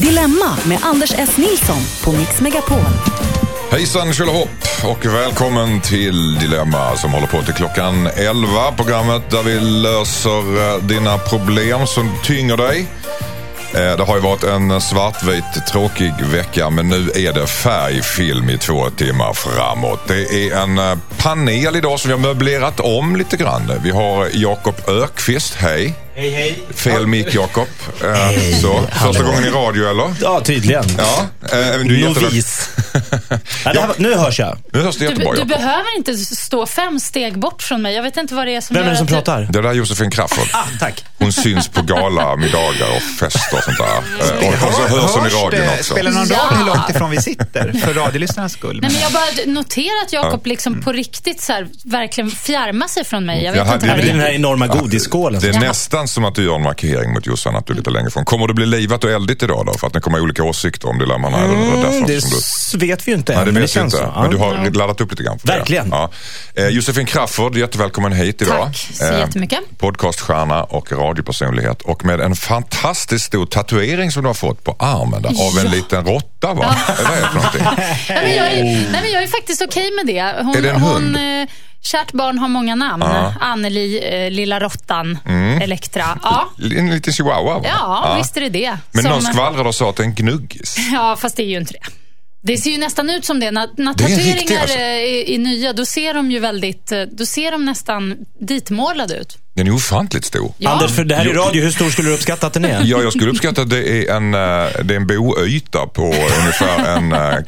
Dilemma med Anders S. Nilsson på Mix Megapol. Hejsan tjolahopp och välkommen till Dilemma som håller på till klockan 11. Programmet där vi löser eh, dina problem som tynger dig. Eh, Det har ju varit en svartvit tråkig vecka men nu är det färgfilm i två timmar framåt. Det är en eh, panel idag som vi har möblerat om lite grann. Vi har Jakob Ökvist, hej. Hej hej. Fel mick Jakob. Eh, Så, första gången i radio eller? Ja, tydligen. Ja, eh, men du är jätteduktig. Novis. ja, det här, nu hörs jag. Nu hörs det Du, jättebra du Jakob. behöver inte stå fem steg bort från mig. Jag vet inte vad det är som Vem är gör det som att du- pratar? Det där är Josefin Crafoord. Ah, tack. Hon syns på gala, middagar och fester och sånt där. Eh, Och, och så hörs hon i radion det, också. spelar någon Ja. roll hur långt ifrån vi sitter? För radiolyssnarnas skull. Nej, men jag bara noterar att Jakob liksom på riktigt så här, verkligen fjärmar sig från mig. Jag vet Jag hade inte Ja, vad men det är det den är. här enorma godisskålen. Det är Ja. nästan som att du gör en markering mot Jossan, att du är lite längre ifrån. Kommer det bli livat och eldigt idag då? För att det kommer olika åsikter om dilemman? eller är det Mm, därför det som du... s- vet vi ju inte Nej, än, det men vet jag inte. så. Ja. Men du har Mm. laddat upp lite grann. För Verkligen. Det. Ja. Eh, Josefin Crafoord, jättevälkommen hit idag. Eh, Tack så jättemycket. Podcaststjärna och radiopersonlighet. Och med en fantastiskt stor tatuering som du har fått på armen där, av en Ja. liten råtta va? Eller vad är det för någonting? Nej, men jag, är, nej, men jag är faktiskt okej med det. Hon, Är det en hund? Hon, eh, kärt barn har många namn. Anneli, eh, Lilla Råttan, Mm. Elektra. Ja, En liten chihuahua va? ja, visst är det det. Men Som- någon skvallrade och sa att det är en gnuggis. Ja, fast det är ju inte det. Det ser ju nästan ut som det. När, när Det är en riktig, tatueringar alltså. eh, är, är nya, då ser de ju väldigt, eh, då ser de nästan ditmålade ut. Den är ofantligt stor. Ja. Anders, för det här är radio. Hur stor skulle du uppskatta att den är? Ja, jag skulle uppskatta att det är en, eh, det är en boyta på ungefär en eh,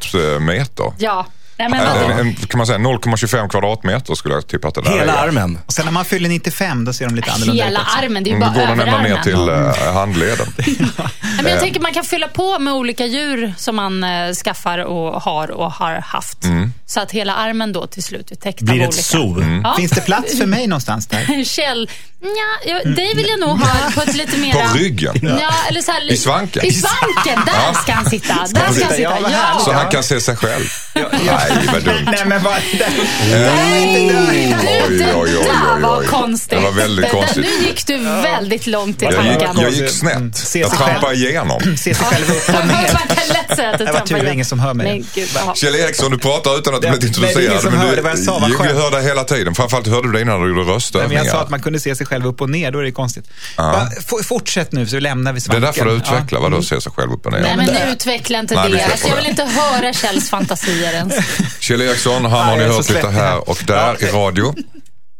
kvadratmeter. Ja. Nej, men vad- Eh, En, en, kan man säga 0,25 kvadratmeter skulle jag tippa att det där Hela är. armen. Och sen när man fyller 95, då ser de lite annorlunda Hela ut också. armen, det är ju Mm, Då bara går den ända ner överarmen. till eh, handleden. Nej, men jag tänker man kan fylla på med olika djur som man eh, skaffar och har och har haft. Mm. Så att hela armen då till slut är täckt Blir av ett olika. zoo. Ja. Finns det plats för mig någonstans där? Kjell, nja, jag, dig vill jag nog ha på ett lite mera... Mm. På ryggen. Ja, eller så här, I svanken. I svanken, där ska han sitta. Där ska sitta? Ja, han sitta. vad Ja. härligt. Så han kan se sig själv. Nej, vad dumt. Nej, men vad... Oj, oj, oj, oj, Det där var oj. konstigt. Det var väldigt Det där- konstigt. Nu gick du väldigt långt i Jag gick, tanken. jag gick Mm, snett. se Jag sig själv. trampade igenom. Se sig själv upp och Man ner. kan lätt säga att du Det var tur trampar det är ingen igen. som hör mig. Men gud, vad- Kjell Eriksson, du pratar utan att du Det- blivit det är introducerad. ingen som men du, hörde vad jag sa, vad jo, vi skönt. hörde hela tiden. Framförallt hörde du det innan du gjorde Nej, röstövningar. men jag sa att man kunde se sig själv upp och ner, då är det konstigt. Va, f- fortsätt nu, så lämnar vi Det är svanken. därför du Ja. utvecklar vad du ser sig själv upp och ner. Nej, men nu utveckla inte Nej, vi det. släpper Alltså, jag det. vill inte höra Kjells fantasier ens. Kjell Eriksson, han har Nej, ni jag är hört så lite svettig här här. och där Ja. i radio.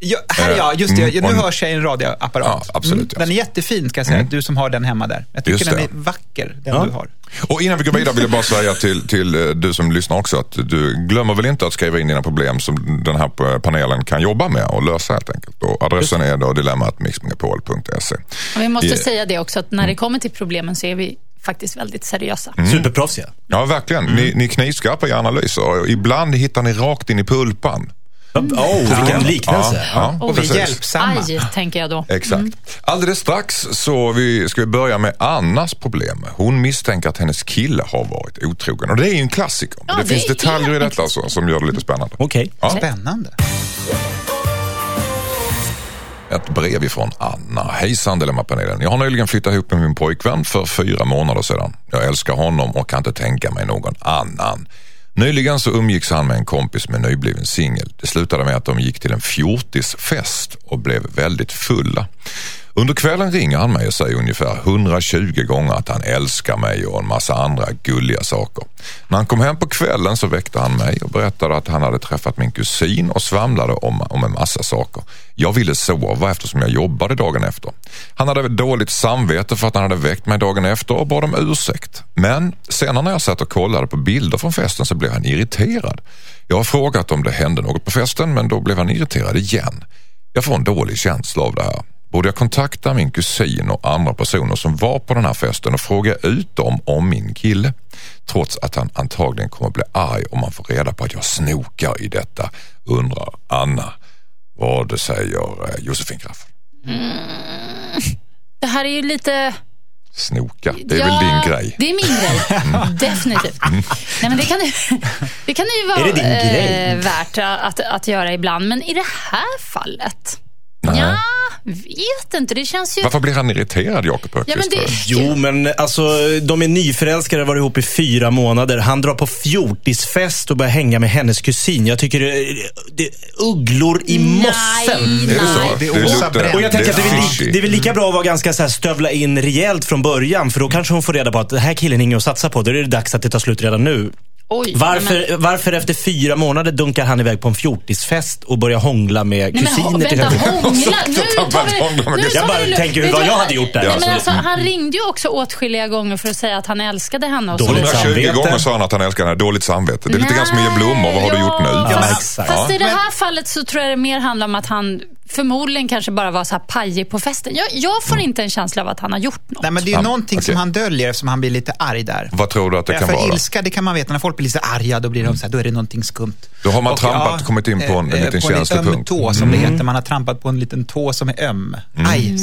Ja, här, ja, just det. Mm, nu och- hörs jag i en radioapparat. Mm. Ja, absolut, Den är jättefin, ska jag säga. Du som har den hemma där. Jag tycker Just den det. är vacker, den du har. Och innan vi går vidare vill jag bara säga till, till eh, du som lyssnar också att du glömmer väl inte att skriva in dina problem som den här eh, panelen kan jobba med och lösa helt enkelt. Och adressen är då dilemmatmixmegapol.se. Och vi måste Ja. säga det också, att när det kommer till problemen så är vi faktiskt väldigt seriösa. Mm. Superproffsiga. Ja, verkligen. Mm. Ni, ni är knivskarpa i analyser och ibland hittar ni rakt in i pulpan. Oh, vilken liknelse. Ja, ja, Och vi är precis. hjälpsamma. Aj, tänker jag då. Exakt. Alldeles strax så vi, ska vi börja med Annas problem. Hon misstänker att hennes kille har varit otrogen. Och det är ju en klassiker. Ja, det, det finns är detaljer i en detta så, som gör det lite spännande. Okej. Ja, Spännande. ett brev ifrån Anna. Hejsan Dilemmapanelen. Jag har nyligen flyttat ihop med min pojkvän för fyra månader sedan. Jag älskar honom och kan inte tänka mig någon annan. Nyligen så umgicks han med en kompis med nybliven singel. Det slutade med att de gick till en fjortisfest och blev väldigt fulla. Under kvällen ringer han mig och säger ungefär 120 gånger att han älskar mig och en massa andra gulliga saker. När han kom hem på kvällen så väckte han mig och berättade att han hade träffat min kusin och svamlade om, om en massa saker. Jag ville sova eftersom jag jobbade dagen efter. Han hade dåligt samvete för att han hade väckt mig dagen efter och bad om ursäkt. Men senare när jag satt och kollade på bilder från festen så blev han irriterad. Jag har frågat om det hände något på festen men då blev han irriterad igen. Jag får en dålig känsla av det här. Borde jag kontakta min kusin och andra personer som var på den här festen och fråga ut dem om min kille? Trots att han antagligen kommer bli arg om man får reda på att jag snokar i detta, undrar Anna. Vad säger eh, Josefin Graff? Det här är ju lite... Snoka, det är Ja, väl din grej? Det är min grej. Definitivt. Nej, men det, kan, ju- det kan ju vara Är det din eh, grej? värt att, att göra ibland. Men i det här fallet? Nej. Ja, vet inte, det känns ju... Varför blir han irriterad, Jakob Ja, men Högqvist? det, för? Jo, men alltså, de är nyförälskade och har varit ihop i fyra månader. Han drar på fjortisfest och börjar hänga med hennes kusin. Jag tycker det, det är ugglor i mossen. Är det så? nej. Det är Åsa luktar- Bränd. Och jag tänker att det är, väl fishy. li, det är väl lika bra att vara ganska så här stövla in rejält från början. För då kanske hon får reda på att den här killen är ingen att satsa på. Då är det dags att det tar slut redan nu. Oj, nej, Varför, varför efter fyra månader dunkar han iväg på en fjortisfest och börjar hångla med men- Nej, kusiner men, till vänta, höger? hångla. Nu Så tar man tar vi hångla med kusiner. nu tar vi det Jag bara lugnt. tänker hur- Vet du vad jag hade gjort där. Nej, men Alltså. alltså, han ringde ju också åtskilliga gånger för att säga att han älskade henne. Och så. liksom- Dåligt vidare. 120 samvete. gånger sa han att han älskar henne. Dåligt samvete. Det är lite grann som att ge blommor. Vad har du Nej, gjort nu? ja. Ja, Ja. exakt. Fast i det här fallet så tror jag det mer handlar om att han förmodligen kanske bara var så här pajig på festen. Jag, jag Mm. får inte en känsla av att han har gjort något. Nej, men det är ju Ja, någonting okej. som han döljer eftersom han blir lite arg där. Vad tror du att det Ja, kan för vara? då? ilska, det kan man veta. När folk blir lite arga, då blir de så här, då är det någonting skumt. Då har man Och, trampat, kommit in på en- en eh, liten känslig På en öm punkt. Mm. tå, som det heter. Man har trampat på en liten tå som är öm. Aj,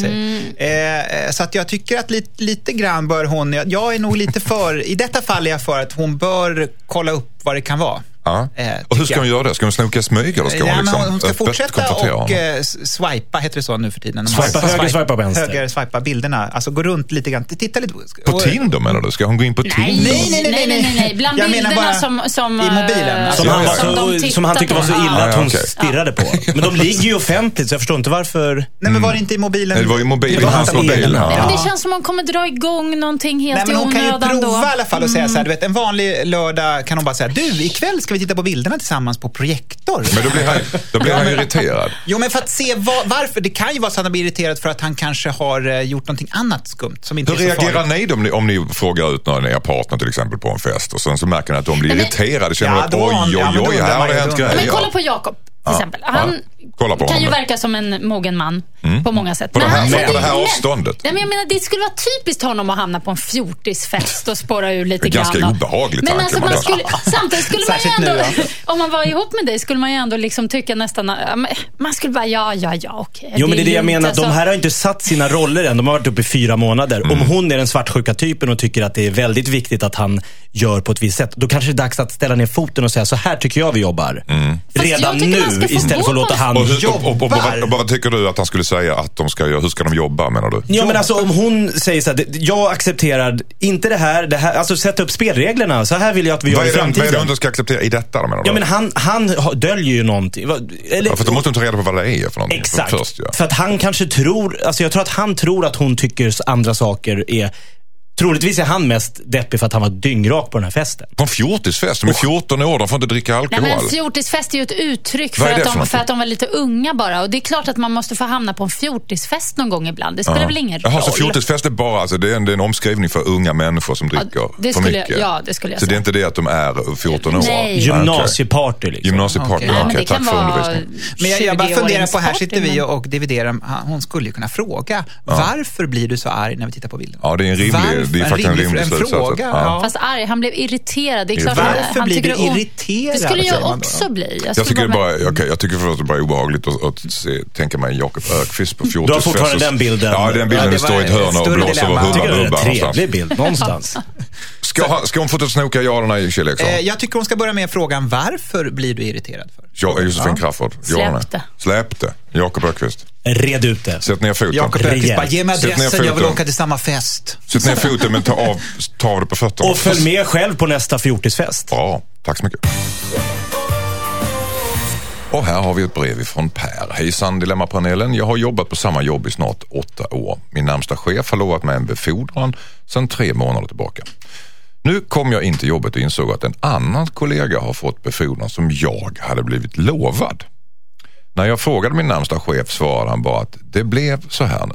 säger. Eh, så att jag tycker att lite, lite grann bör hon, jag, jag är nog lite för, i detta fall är jag för att hon bör kolla upp vad det kan vara. Ja. Eh, och hur tycker ska hon jag. göra det? Ska hon snoka smyg eller ska Ja, hon men liksom hon ska öppet fortsätta konfrontera och honom? eh, s- swipa, heter det så nu för tiden? När man Swipa höger, swipe- swipa vänster. Höger, swipa bilderna. Alltså gå runt lite grann. Titta lite. På Tinder menar du? Ska hon gå in på Typ. Nej, Tinder? nej, nej, nej, nej, nej. Bland Jag menar bilderna bara som, som... i mobilen. eh, Alltså, Som han, var de så, tittar som han tyckte var så på. illa Ja. att hon Ja, okej. stirrade på. Men de ligger ju offentligt, så jag förstår inte varför. Nej, men var det inte i mobilen? Nej, det var ju mobil. Det var Hans hans mobil, egen. ja. Nej, men det känns som hon kommer dra igång någonting Nej, helt men i hon kan ju onödan prova då. Mm. i alla fall och säga så här, du vet en vanlig lördag kan hon bara säga, du ikväll ska vi titta på bilderna tillsammans på projektor. Men då blir han, då blir han irriterad. Jo, men för att se vad, varför. Det kan ju vara så att han blir irriterad för att han kanske har eh, gjort någonting annat skumt som inte Hur är så farligt. reagerar ni om, ni om ni frågar ut någon av era partner till exempel på en fest och sen så märker ni att de blir Nej, men- irriterade? Känner Ja, att då- oj, ja, men oj, då oj, undrar här man har ju, det hänt då- Men grejer. kolla på Jakob till exempel. Han Kolla på kan ju honom. Mm. verka som en mogen man på många sätt. På det Men alltså, här- han- på det här men- avståndet. Nej, men jag menar, det skulle vara typiskt honom att hamna på en fjortisfest och spåra ur lite Det är grann. ganska obehaglig men tanke, alltså, man man kan- skulle, Samtidigt skulle man Särskilt ju ändå, nu, om man var ihop med dig, skulle man ju ändå liksom tycka nästan, ja, men- man skulle bara ja, ja, ja, okej. Jo, men det är det jag lugnt, menar. De alltså. här har inte satt sina roller än. De har varit uppe i fyra månader. Mm. Om hon är den svartsjuka typen och tycker att det är väldigt viktigt att han gör på ett visst sätt, då kanske det är dags att ställa ner foten och säga så här tycker jag vi jobbar. Fast jag Redan tycker nu, man ska få istället för att gå låta på- han Mm. Och, hur, och, och, och, och, vad- Jobbar. och vad tycker du att han skulle säga att de ska göra? Hur ska de jobba menar du? Ja men alltså om hon säger så här, "Det- jag accepterar inte det här, det här, alltså sätta upp spelreglerna. Så här vill jag att vi gör Vad i är, det, vad är det du framtiden. inte ska acceptera i detta då, menar du? Ja men han, han har- döljer ju någonting. Va- Eller, Ja, för då måste de ta reda på vad det är för någonting Exakt. först. Ja. För att han kanske tror, alltså jag tror att han tror att hon tycker s- andra saker är Troligtvis är han mest deppig för att han var dyngrak på den här festen. På en fjortisfest, de är 14 år, de får inte dricka Nej, alkohol. men en fjortisfest är ju ett uttryck Vad för är det att, för de, något? för att de var lite unga bara. Och Det är klart att man måste få hamna på en fjortisfest någon gång ibland. Det spelar väl ingen roll? Jaha, så fjortisfest är bara alltså, det är en, det är en omskrivning för unga människor som dricker det för skulle mycket? jag- ja, det skulle jag så det är säga. inte det att de är 14 år? Nej. okej. Gymnasieparty liksom. Gymnasieparty, Okej. ja, Nej, men okej. det Tack kan för vara undervisningen. Men jag, jag bara 20-åringsparty, funderar på, här sitter vi men- och, och dividerar. om- han- Hon skulle ju kunna fråga, varför blir du så arg när vi tittar på bilderna? Ja, det är en rimlig- det är faktiskt en rimlig slutsats att- fråga. ja. Ja. Fast arg, han blev irriterad. Det är Ja. klart Varför att han blir tycker du det är o- irriterad, Det skulle säger jag man då. också bli. Jag skulle tycker, det vara- bara, okej, jag tycker förstås att det bara är obehagligt att, att se, tänka mig Jakob Ökvist på 14 Du har fortfarande den bilden. Ja, den bilden Ja, det det står var i ett ett hörn och större blåser över dilemma. Jag tycker hubban det är en bubban trevlig någonstans. bild någonstans. Ska, ha- ska hon få ta snoka ja eller nej, Kjell Eriksson? Eh, Jag tycker hon ska börja med frågan, varför blir du irriterad? för? Ja, Josefin Crafoord. Ja eller nej? Släppte. Släppte. Jakob Ökvist. Red ut det. Sätt ner foten. Jakob Rejält. Öqvist bara, ge mig Sätt ner adressen, jag vill foten. åka till samma fest. Sätt ner foten men ta av, ta av det på fötterna. Och följ med själv på nästa fjortisfest. Bra, tack så mycket. Och här har vi ett brev ifrån Per. Hejsan Dilemmapanelen. Jag har jobbat på samma jobb i snart åtta år. Min närmsta chef har lovat mig en befordran sedan tre månader tillbaka. Nu kom jag in till jobbet och insåg att en annan kollega har fått befordran som jag hade blivit lovad. När jag frågade min närmsta chef svarade han bara att det blev så här nu.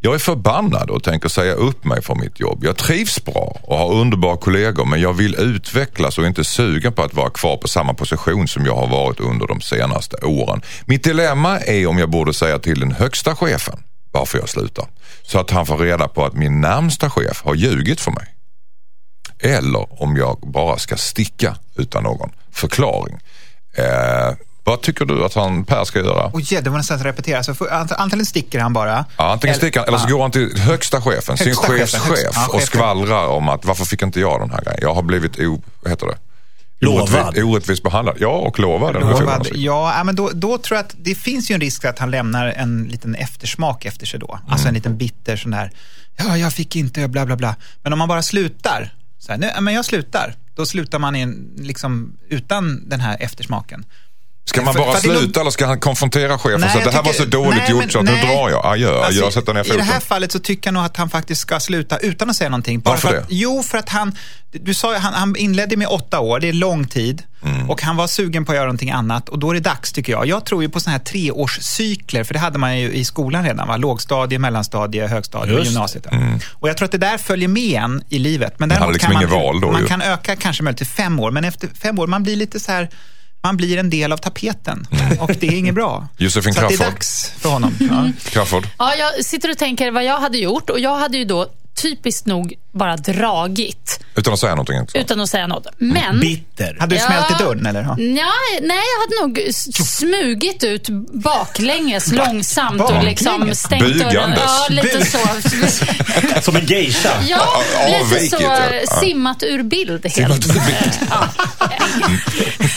Jag är förbannad och tänker säga upp mig från mitt jobb. Jag trivs bra och har underbara kollegor men jag vill utvecklas och inte sugen på att vara kvar på samma position som jag har varit under de senaste åren. Mitt dilemma är om jag borde säga till den högsta chefen varför jag slutar. Så att han får reda på att min närmsta chef har ljugit för mig. Eller om jag bara ska sticka utan någon förklaring. Eh, vad tycker du att han Per ska göra? Och yeah, det var nästan att repetera. Så för, ant- antingen sticker han bara. Ja, antingen sticker han eller så går han till högsta chefen, sin Högsta chefen, chefschef högsta- ja, och chefen. skvallrar om att varför fick inte jag den här grejen? Jag har blivit o... Vad heter det? Lovad. Orättvis, orättvis behandlad. Ja, och lovad. eller hur säger man Lovad. också? Ja, ja, men då, då tror jag att det finns ju en risk att han lämnar en liten eftersmak efter sig då. Alltså en liten bitter sån där, ja, jag fick inte, bla, bla, bla. Men om man bara slutar, så här, nej, ja, men jag slutar. Då slutar man i en, liksom, utan den här eftersmaken. Ska man För- bara för att det är sluta eller ska han konfrontera chefen och Nej, säga jag det här var så tycker- dåligt nej, gjort men- så att nu nej. drar jag. Adjö, Alltså, jag sätter ner I det foten. här fallet så tycker jag nog att han faktiskt ska sluta utan att säga någonting. Bara Varför för att, det? Jo, för att han, du sa ju, han, han inledde med åtta år, det är lång tid. Mm. Och han var sugen på att göra någonting annat och då är det dags tycker jag. Jag tror ju på sådana här treårscykler, för det hade man ju i skolan redan. Va? Lågstadie, mellanstadie, högstadie och Just det. gymnasiet. ja. Och jag tror att det där följer med en i livet. Men Mm. hade däremot liksom kan man, inget val då man ju. kan öka kanske möjligen till fem år, men efter fem år, man blir lite så här man blir en del av tapeten och det är inget bra. Josefin så att det är Crafoord. dags för honom. Ja. Crafoord. Ja, jag sitter och tänker vad jag hade gjort och jag hade ju då typiskt nog bara dragit Utan att säga någonting. också. utan att säga något. Men... Bitter. Hade du Ja. smält i dörren eller? Ja. Nej, nej, jag hade nog s- smugit ut baklänges långsamt och liksom Baklänges? stängt dörren. Bugandes. Ja, lite så. Som en geisha. Ja, lite Avvikit, så ja. eh, simmat ur bild helt. Ja.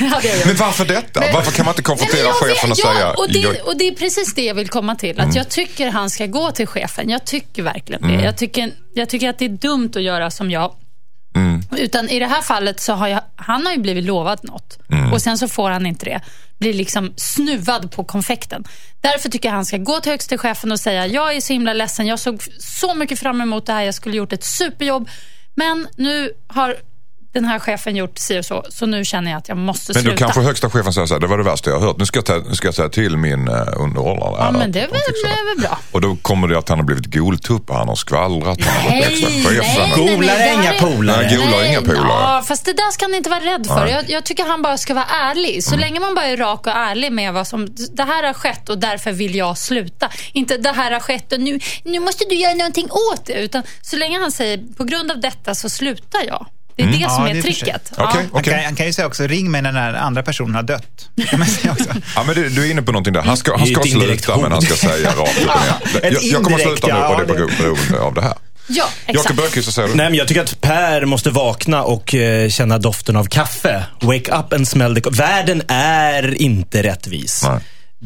Hade jag gjort. Men varför detta? Varför kan man inte konfrontera Nej, men jag chefen och vet- ja, säga Mm. Och det, "Jag- och det är precis det jag vill komma till. Att Jag tycker han ska gå till chefen. Jag tycker verkligen Mm. det. Jag, tycker, jag tycker att det är dumt att göra som jag. Mm. Utan i det här fallet så har jag, han har ju blivit lovad något. Mm. Och sen så får han inte det. Blir liksom snuvad på konfekten. Därför tycker jag han ska gå till högste chefen och säga, jag är så himla ledsen. Jag såg så mycket fram emot det här. Jag skulle gjort ett superjobb. Men nu har den här chefen gjort si och så. Så nu känner jag att jag måste Men sluta. då kanske högsta chefen säger så här, det var det värsta jag har hört. Nu ska jag, ta, nu ska jag säga till min eh, underhållare. Ja, här men att det är de fixar väl, är väl bra. Och då kommer det att han har blivit goltupp och han har skvallrat. Han har gått efter chefen. nej, nej, Golare det är här inga är- Nej, polare. gul- Ola har inga polare. Ja, fast det där ska han inte vara rädd för. Nej. Jag, jag tycker han bara ska vara ärlig. Så länge man bara är rak och ärlig med vad som, det här har skett och därför vill jag sluta. Inte det här har skett och nu, nu måste du göra någonting åt det. Utan så länge han säger, på grund av detta så slutar jag. Det är det som Ja, är det är tricket. för sig. Okej. Han, kan, han kan ju säga också, ring mig när den här andra personen har dött. Det kan man säga också. Ja, men du, du är inne på någonting där. Han ska, han Det är ska ett indirekt sluta men han ska säga rakt upp och ner. Ett Jag, jag kommer att indirekt, sluta nu och det ja, beror beroende av det här. Ja, Jakob exakt. Bergqvist, vad säger du? Nej, men jag tycker att Per måste vakna och eh, känna doften av kaffe. Wake up and smell the coffee. Världen är inte rättvis. Nej.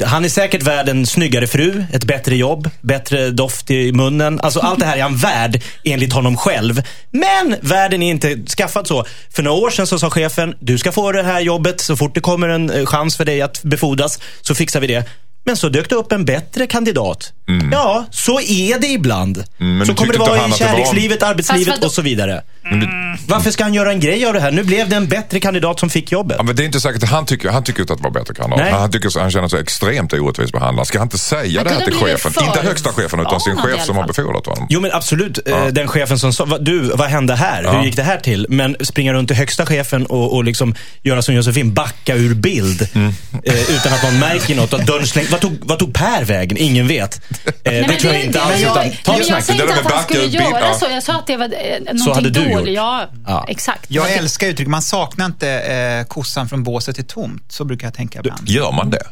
Han är säkert värd en snyggare fru, ett bättre jobb, bättre doft i munnen. Alltså allt det här är han värd enligt honom själv. Men världen är inte skaffad så. För några år sedan så sa chefen, du ska få det här jobbet så fort det kommer en eh, chans för dig att befordras så fixar vi det. Men så dök det upp en bättre kandidat. Ja, så är det ibland. Mm. men så du kommer det tyckte inte vara han i att det var- kärlekslivet, Fast arbetslivet vadå? och så vidare. Varför ska han göra en grej av det här? Nu blev det en bättre kandidat som fick jobbet. Ja, men det är inte säkert att han tycker, han tycker inte att det var bättre kandidat. Nej. Men Han, tycker, han känner sig extremt orättvist behandlad. Ska han inte säga Han det här kunde till ha blivit chefen? för- Inte högsta chefen utan Ja, sin han i chef alla som har fall. befordrat honom. Jo men absolut, eh, den chefen som sa, "Va- du vad hände här? Hur gick det här till? Men springa runt till högsta chefen och, och liksom göra som Josefin, backa ur bild. Eh, utan att någon märker något. Att dörren släng... vad, tog, vad tog Per vägen? Ingen vet. Eh, det men tror jag det- inte det- alls. men Utan, ta men jag snacket. sa Det inte där att med han backa skulle ur bild, göra ja. så. Jag sa att det var eh, någonting hade du dåligt. gjort. Ja, Ja. exakt. Jag älskar uttryck, man saknar inte eh, kossan från båset är tomt. Så brukar jag tänka ibland. Gör man det?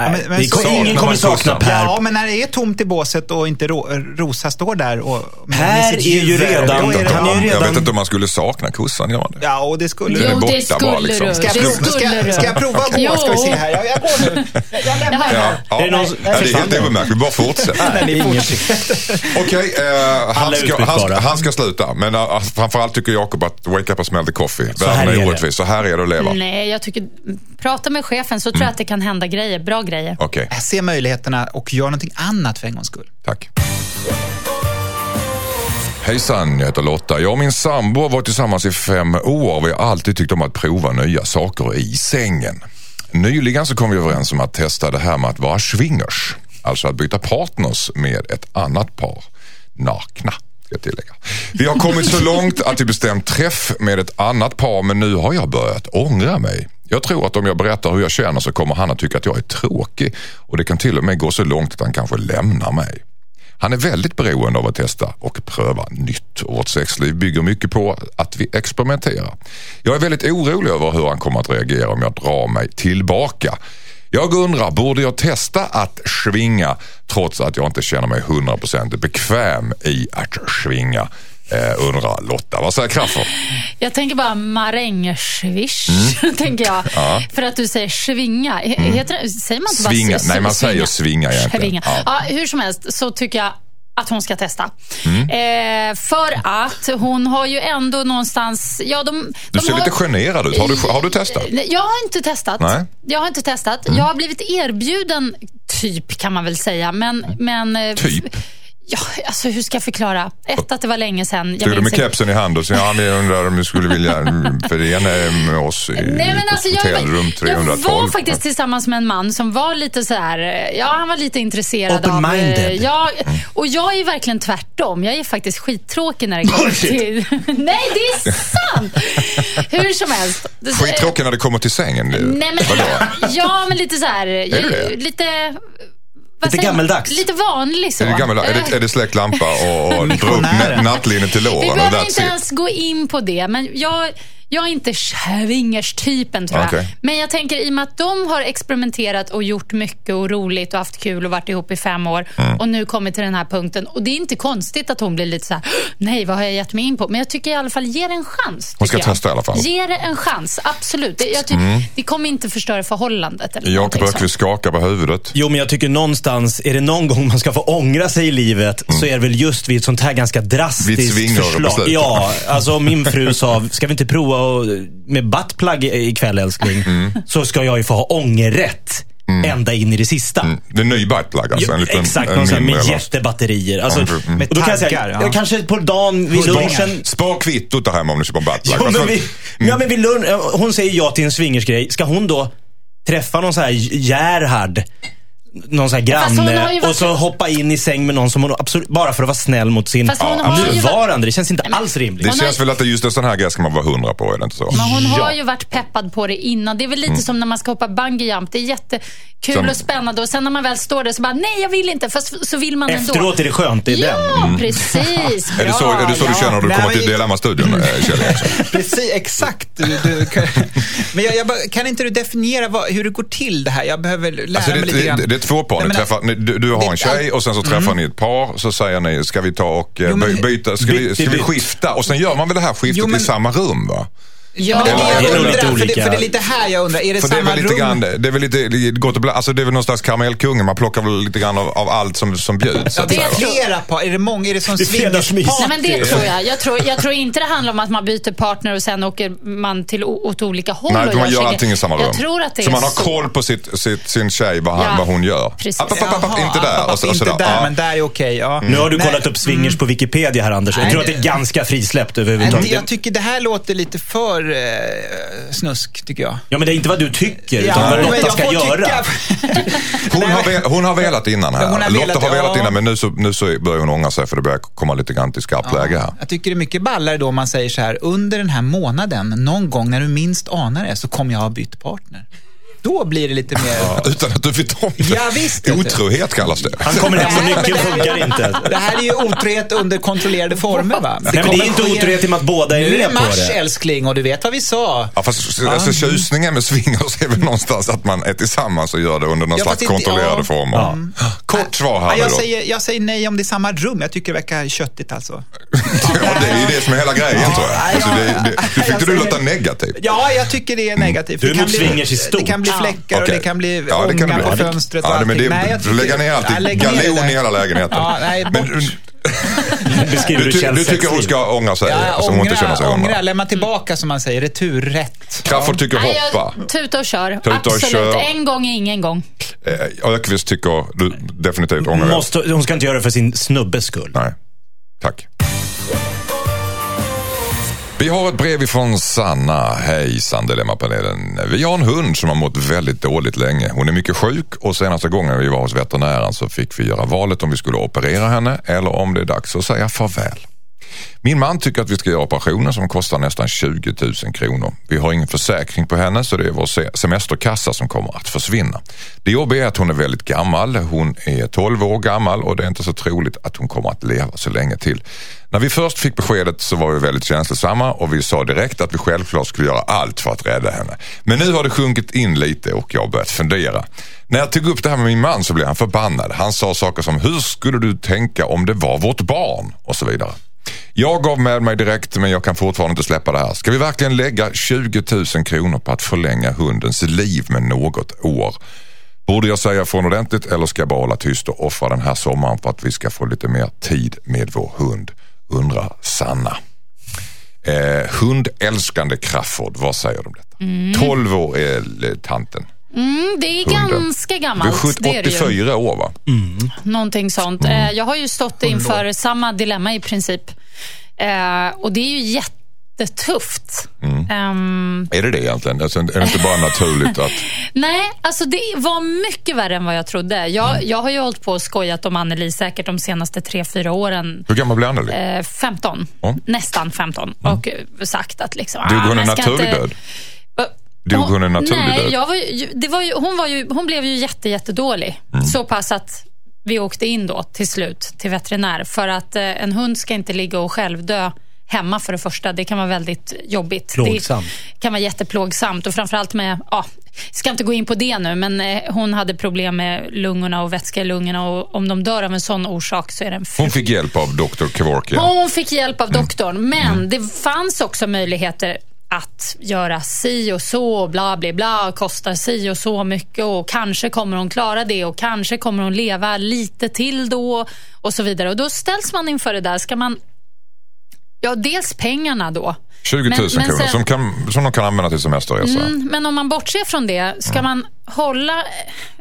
Nej, men- men det kom- så- ingen när kommer man sakna kostar. Per. Ja, men när det är tomt i båset och inte ro, Rosa står där och... med Per sitt är ju huvud, redan- då är det- han är ju Jag ja, Redan- vet inte om man skulle sakna kossan, gör man det? Ja, och det skulle... Den är Jo, borta det skulle bara, liksom. du. Ska jag, det prova, ska, skulle du. jag- ska jag prova på? Jo. Ska vi se här. Jag, jag går nu. Jag, jag lämnar Ja. här. Ja, Är det någon ja, som- det är helt obemärkligt, vi bara fortsätter. Nej, ingen- Okej, eh, han, Alla är ska, han, ska- utbytbara. han ska sluta. Men eh, framförallt tycker Jakob att wake up and smell the coffee. här Världen är är det. orättvis, så här är det att leva. Nej, jag tycker, prata med chefen så tror jag att det kan hända grejer. Bra grejer. Okej, Se möjligheterna och gör någonting annat för en gångs skull. tack. Hejsan, jag heter Lotta. Jag och min sambo har varit tillsammans i fem år och vi har alltid tyckt om att prova nya saker i sängen. Nyligen så kom vi överens om att testa det här med att vara swingers. Alltså att byta partners med ett annat par. Nakna, ska jag tillägga. Vi har kommit så långt att vi bestämt träff med ett annat par men nu har jag börjat ångra mig. Jag tror att om jag berättar hur jag känner så kommer han att tycka att jag är tråkig och det kan till och med gå så långt att han kanske lämnar mig. Han är väldigt beroende av att testa och pröva nytt och vårt sexliv bygger mycket på att vi experimenterar. Jag är väldigt orolig över hur han kommer att reagera om jag drar mig tillbaka. Jag undrar, borde jag testa att svinga trots att jag inte känner mig 100% bekväm i att svinga? Eh, undrar Lotta, vad säger Crafoord? Jag tänker bara marängsvisch, tänker jag. Mm. Ja. Mm. För att du säger svinga. He- Heter det, säger man inte Svinga. bara s- Nej, man säger svinga egentligen. Svinga. Ja. Ja. hur som helst så tycker jag att hon ska testa. Mm. Eh, för att hon har ju ändå någonstans... Ja, de, Du de ser har, lite generad ut. Har du, har du testat? Nej, Jag har inte testat. Nej. Mm. Jag har inte testat. Jag har blivit erbjuden, typ kan man väl säga. Men, men, eh, Typ? Ja, alltså hur ska jag förklara? Ett, att det var länge sedan. Jag Stod du minns med inte- kepsen i hand och sa ja, ni undrar om ni skulle vilja förena er med oss i Nej, men alltså, jag, hotellrum 312? jag var faktiskt tillsammans med en man som var lite så här, eh, ja han var lite intresserad av... Open-minded. eh, Ja, och jag är verkligen tvärtom. Jag är faktiskt skittråkig när det kommer till... Nej, det är sant! Hur som helst. Det- Skittråkigt när det kommer till sängen. Nu. Nej, men, ja, men lite så här... du det? Lite... vad Lite säger man? gammeldags. Lite vanlig så. Är det, gammal, är det, är det släckt lampa och, och dra upp nä- nattlinnet till Vi låren och behöver inte that's it? ens gå in på det, men jag, jag är inte swingers-typen tror jag. Okej. Men jag tänker i och med att de har experimenterat och gjort mycket och roligt och haft kul och varit ihop i fem år Mm. och nu kommit till den här punkten. Och det är inte konstigt att hon blir lite så här, nej vad har jag gett mig in på? Men jag tycker i alla fall, ge det en chans. Hon ska tycker jag. testa i alla fall. Ge det en chans, absolut. Det, jag tycker, det kommer inte förstöra förhållandet. eller Jakob någonting sånt. Ökvist skakar på huvudet. Jo, men jag tycker någonstans, är det någon gång man ska få ångra sig i livet så är det väl just vid ett sånt här ganska Mm. Vid drastiskt svingar och förslag. beslut. Ja, alltså om min fru sa, ska vi inte prova och, med buttplug i- ikväll älskling? Mm. Så ska jag ju få ha ångerrätt ända in i det sista. Det är en ny buttplug Mm. alltså? Ja, En liten, Exakt, en någon sån här mindre med eller- jättebatterier. Alltså, Mm, mm. och då kan jag säga, Taggar, ja. ja. kanske på dagen vid Hundar. lunchen. Spar kvittot där hemma om du köper en buttplug. Jo, Alltså, men vi, ja, men vid lunch, eh, hon säger ja till en swingersgrej. Ska hon då träffa någon så här Gerhard? Någon sån här Fast hon har granne ju varit- och så hoppa in i säng med någon som hon absolut, bara för att vara snäll mot sin Fast hon har ju varit- nuvarande. Det känns inte alls rimligt. Det Hon har- känns väl att det är just en sån här grej ska man vara hundra på, är det inte så? Men hon har Ja. ju varit peppad på det innan. Det är väl lite som när man ska hoppa bungee jump. Det är jättekul Mm. Som- och spännande och sen när man väl står där så bara, nej jag vill inte. Fast så vill man ändå. Efteråt är det skönt, det är den. Ja, Mm. precis. Bra. Är det så, är det så du ja. känner när du Nej, kommer men- till Dilemma-studion, eh, Kjell Eriksson? Precis, exakt. Du, du, kan, men jag, jag, bara- kan inte du definiera vad, hur det går till det här? Jag behöver lära Alltså det, mig lite det, grann. det, det är två par. Jag Ni menar- träffar, ni, du, du har det- en tjej och sen så träffar ni ett par. Så säger ni, ska vi ta och eh, Jo, men- by- byta, ska, vi, byt- ska vi byt. skifta? Och sen gör man väl det här skiftet Jo, men- i samma rum va? Ja. Det är Eller- det eller lite jag undrar, för det, olika- för det är lite här jag undrar. Är det För det är samma väl lite rum? grann, det är väl lite, lite gott och bland, alltså det är väl någonstans karamellkungen. Man plockar väl lite grann av, av allt som, som bjuds. så Ja, att det säga, är va? flera par. Är det många? Är det som Det är fredagsmys. swingersparty? Nej, men det tror jag. Jag tror, jag tror inte det handlar om att man byter partner och sen åker man till, o- åt olika håll. Nej, och man gör saker. allting i samma rum. Jag tror att det så är man har så. koll på sitt, sitt, sin tjej, vad, han, Ja, vad hon gör. precis. App, app, app, app, inte där. Alltså, Och så, och så inte där. där, Ja. men där är okej. Ja. Nu har du Nej. kollat upp Mm. swingers på Wikipedia här Anders. Jag Nej, tror att det- det är ganska frisläppt Nej, det- överhuvudtaget. Jag tycker det här låter lite för eh, snusk, tycker jag. Ja men det är inte vad du Ja, tycker, utan vad men Lotta jag ska får göra. tycka- Hon, Nej, har men- vel, hon har velat innan här. Ja, hon har Lotta velat, har velat ja. innan men nu så, nu så börjar hon ångra sig för det börjar komma lite grann till skarpt läge här. Jag tycker det är mycket ballare då om man säger så här, under den här månaden, någon gång när du minst anar det, så kommer jag ha bytt partner. Då blir det lite mer... Utan att du vet om det. Ja, visst, vet du. Otrohet kallas det. Han kommer hem Nej, med men nyckeln, det här- funkar inte. Det här är ju otrohet under kontrollerade former va? Nej, men det är inte kommer ske- otrohet i och med att båda är Nu är det med på mars det. älskling och du vet vad vi sa. Ja, fast alltså, tjusningen med swingers är väl någonstans att man är tillsammans och gör det under någon Ja, fast slags inte- kontrollerade ja. former. Kort svar här Ja, nu jag, då. säger, jag säger nej om det är samma rum. Jag tycker det verkar köttigt alltså. Ja, det är ju det som är hela grejen tror jag. Ja, Alltså, ja. det, det, du fick Jag inte du säger- låta negativ. Ja, jag tycker det är negativt. Du är Det kan emot bli- swingers i stort. Det kan bli fläckar och Mm. Okej. det kan bli Ja, det kan det ånga bli. på fönstret och ja, det, men det, allting. Nej, jag tycker- Lägga ner Ja, alltid. lägg ner det Galon där. i hela lägenheten. Ja, nej, men, bort. du, Beskriver du, du ty- du Kjells tycker hon sexliv? ska ångra sig? Ja, alltså, hon inte känner sig ångra, ångra, ångrad. lämna tillbaka som man säger. Returrätt. Crafoord tycker Nej, hoppa. jag, tuta och kör. och Absolut. kör. En gång är ingen gång. Eh, Ökvist tycker du definitivt ångrar dig. Måste, hon ska inte göra det för sin snubbes skull. Nej, tack. Vi har ett brev ifrån Sanna. Hej Dilemmapanelen. Vi har en hund som har mått väldigt dåligt länge. Hon är mycket sjuk och senaste gången vi var hos veterinären så fick vi göra valet om vi skulle operera henne eller om det är dags att säga farväl. Min man tycker att vi ska göra operationen som kostar nästan 20 000 kronor. Vi har ingen försäkring på henne så det är vår se- semesterkassa som kommer att försvinna. Det jobbiga är att hon är väldigt gammal. Hon är 12 år gammal och det är inte så troligt att hon kommer att leva så länge till. När vi först fick beskedet så var vi väldigt känslosamma och vi sa direkt att vi självklart skulle göra allt för att rädda henne. Men nu har det sjunkit in lite och jag har börjat fundera. När jag tog upp det här med min man så blev han förbannad. Han sa saker som “Hur skulle du tänka om det var vårt barn?” och så vidare. Jag gav med mig direkt men jag kan fortfarande inte släppa det här. Ska vi verkligen lägga 20 000 kronor på att förlänga hundens liv med något år? Borde jag säga från ordentligt eller ska jag bara hålla tyst och offra den här sommaren för att vi ska få lite mer tid med vår hund? Undrar Sanna. Eh, hundälskande Crafoord, vad säger du om detta? 12 år är eh, tanten. Mm, det är Hunden. ganska Du är gammalt. sjut- det är det ju. 84 år va? Någonting sånt. Eh, Jag har ju stått inför samma dilemma i princip. Eh, Och det är ju jättetufft. Ehm, Är det det egentligen? Alltså, är det inte bara naturligt att... Nej, alltså det var mycket värre än vad jag trodde. Jag, jag har ju hållit på och skojat om Anneli säkert de senaste tre fyra åren. Hur gammal blir Anneli? Eh, 15, Ja. nästan 15. Och eh, sagt att liksom... Dog hon en man ska naturlig inte- död? Va- Dog hon en naturlig nej, död? Jag var ju, det var ju, hon, var ju, hon blev ju jätte, jättedålig. Mm. Så pass att vi åkte in då till slut till veterinär. För att eh, en hund ska inte ligga och självdö hemma för det första. Det kan vara väldigt jobbigt. Plågsamt. Det kan vara jätteplågsamt och framförallt med, ja, ska inte gå in på det nu, men eh, hon hade problem med lungorna och vätska i lungorna och om de dör av en sån orsak så är det en Hon fick hjälp av Dr. Kevorkian. hon fick hjälp av doktorn, men det fanns också möjligheter att göra si och så, och bla bla bla, och kostar si och så mycket och kanske kommer hon klara det och kanske kommer hon leva lite till då och så vidare. Och då ställs man inför det där. Ska man... Ja, dels pengarna då. 20 000 Men- men kronor sen- som, kan, som de kan använda till semesterresa. Mm, men om man bortser från det, ska man hålla...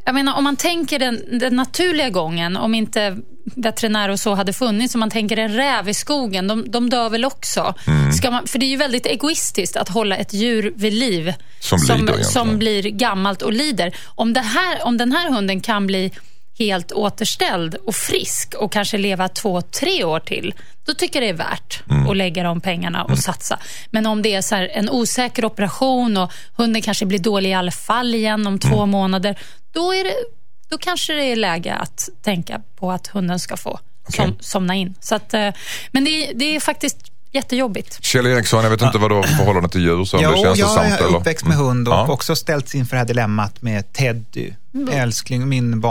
Jag menar, om man tänker den, den naturliga gången, om inte veterinär och så hade funnits, om man tänker en räv i skogen, de, de dör väl också? Mm. Ska man, för det är ju väldigt egoistiskt att hålla ett djur vid liv Som lider som, egentligen. som blir gammalt och lider. Om, det här, om den här hunden kan bli helt återställd och frisk och kanske leva två, tre år till, då tycker jag det är värt att lägga de pengarna och satsa. Men om det är så här en osäker operation och hunden kanske blir dålig i alla fall igen om två månader, då, är det, då kanske det är läge att tänka på att hunden ska få som, somna in. Så att, eh, men det, är- det är faktiskt jättejobbigt. Kjell Eriksson, jag vet inte vad du har för förhållande till djur. Så om det Jo, känns jag sant, är eller? Mm. uppväxt med hund och Ja. också ställts inför det här dilemmat med Teddy. Mm. Älskling, min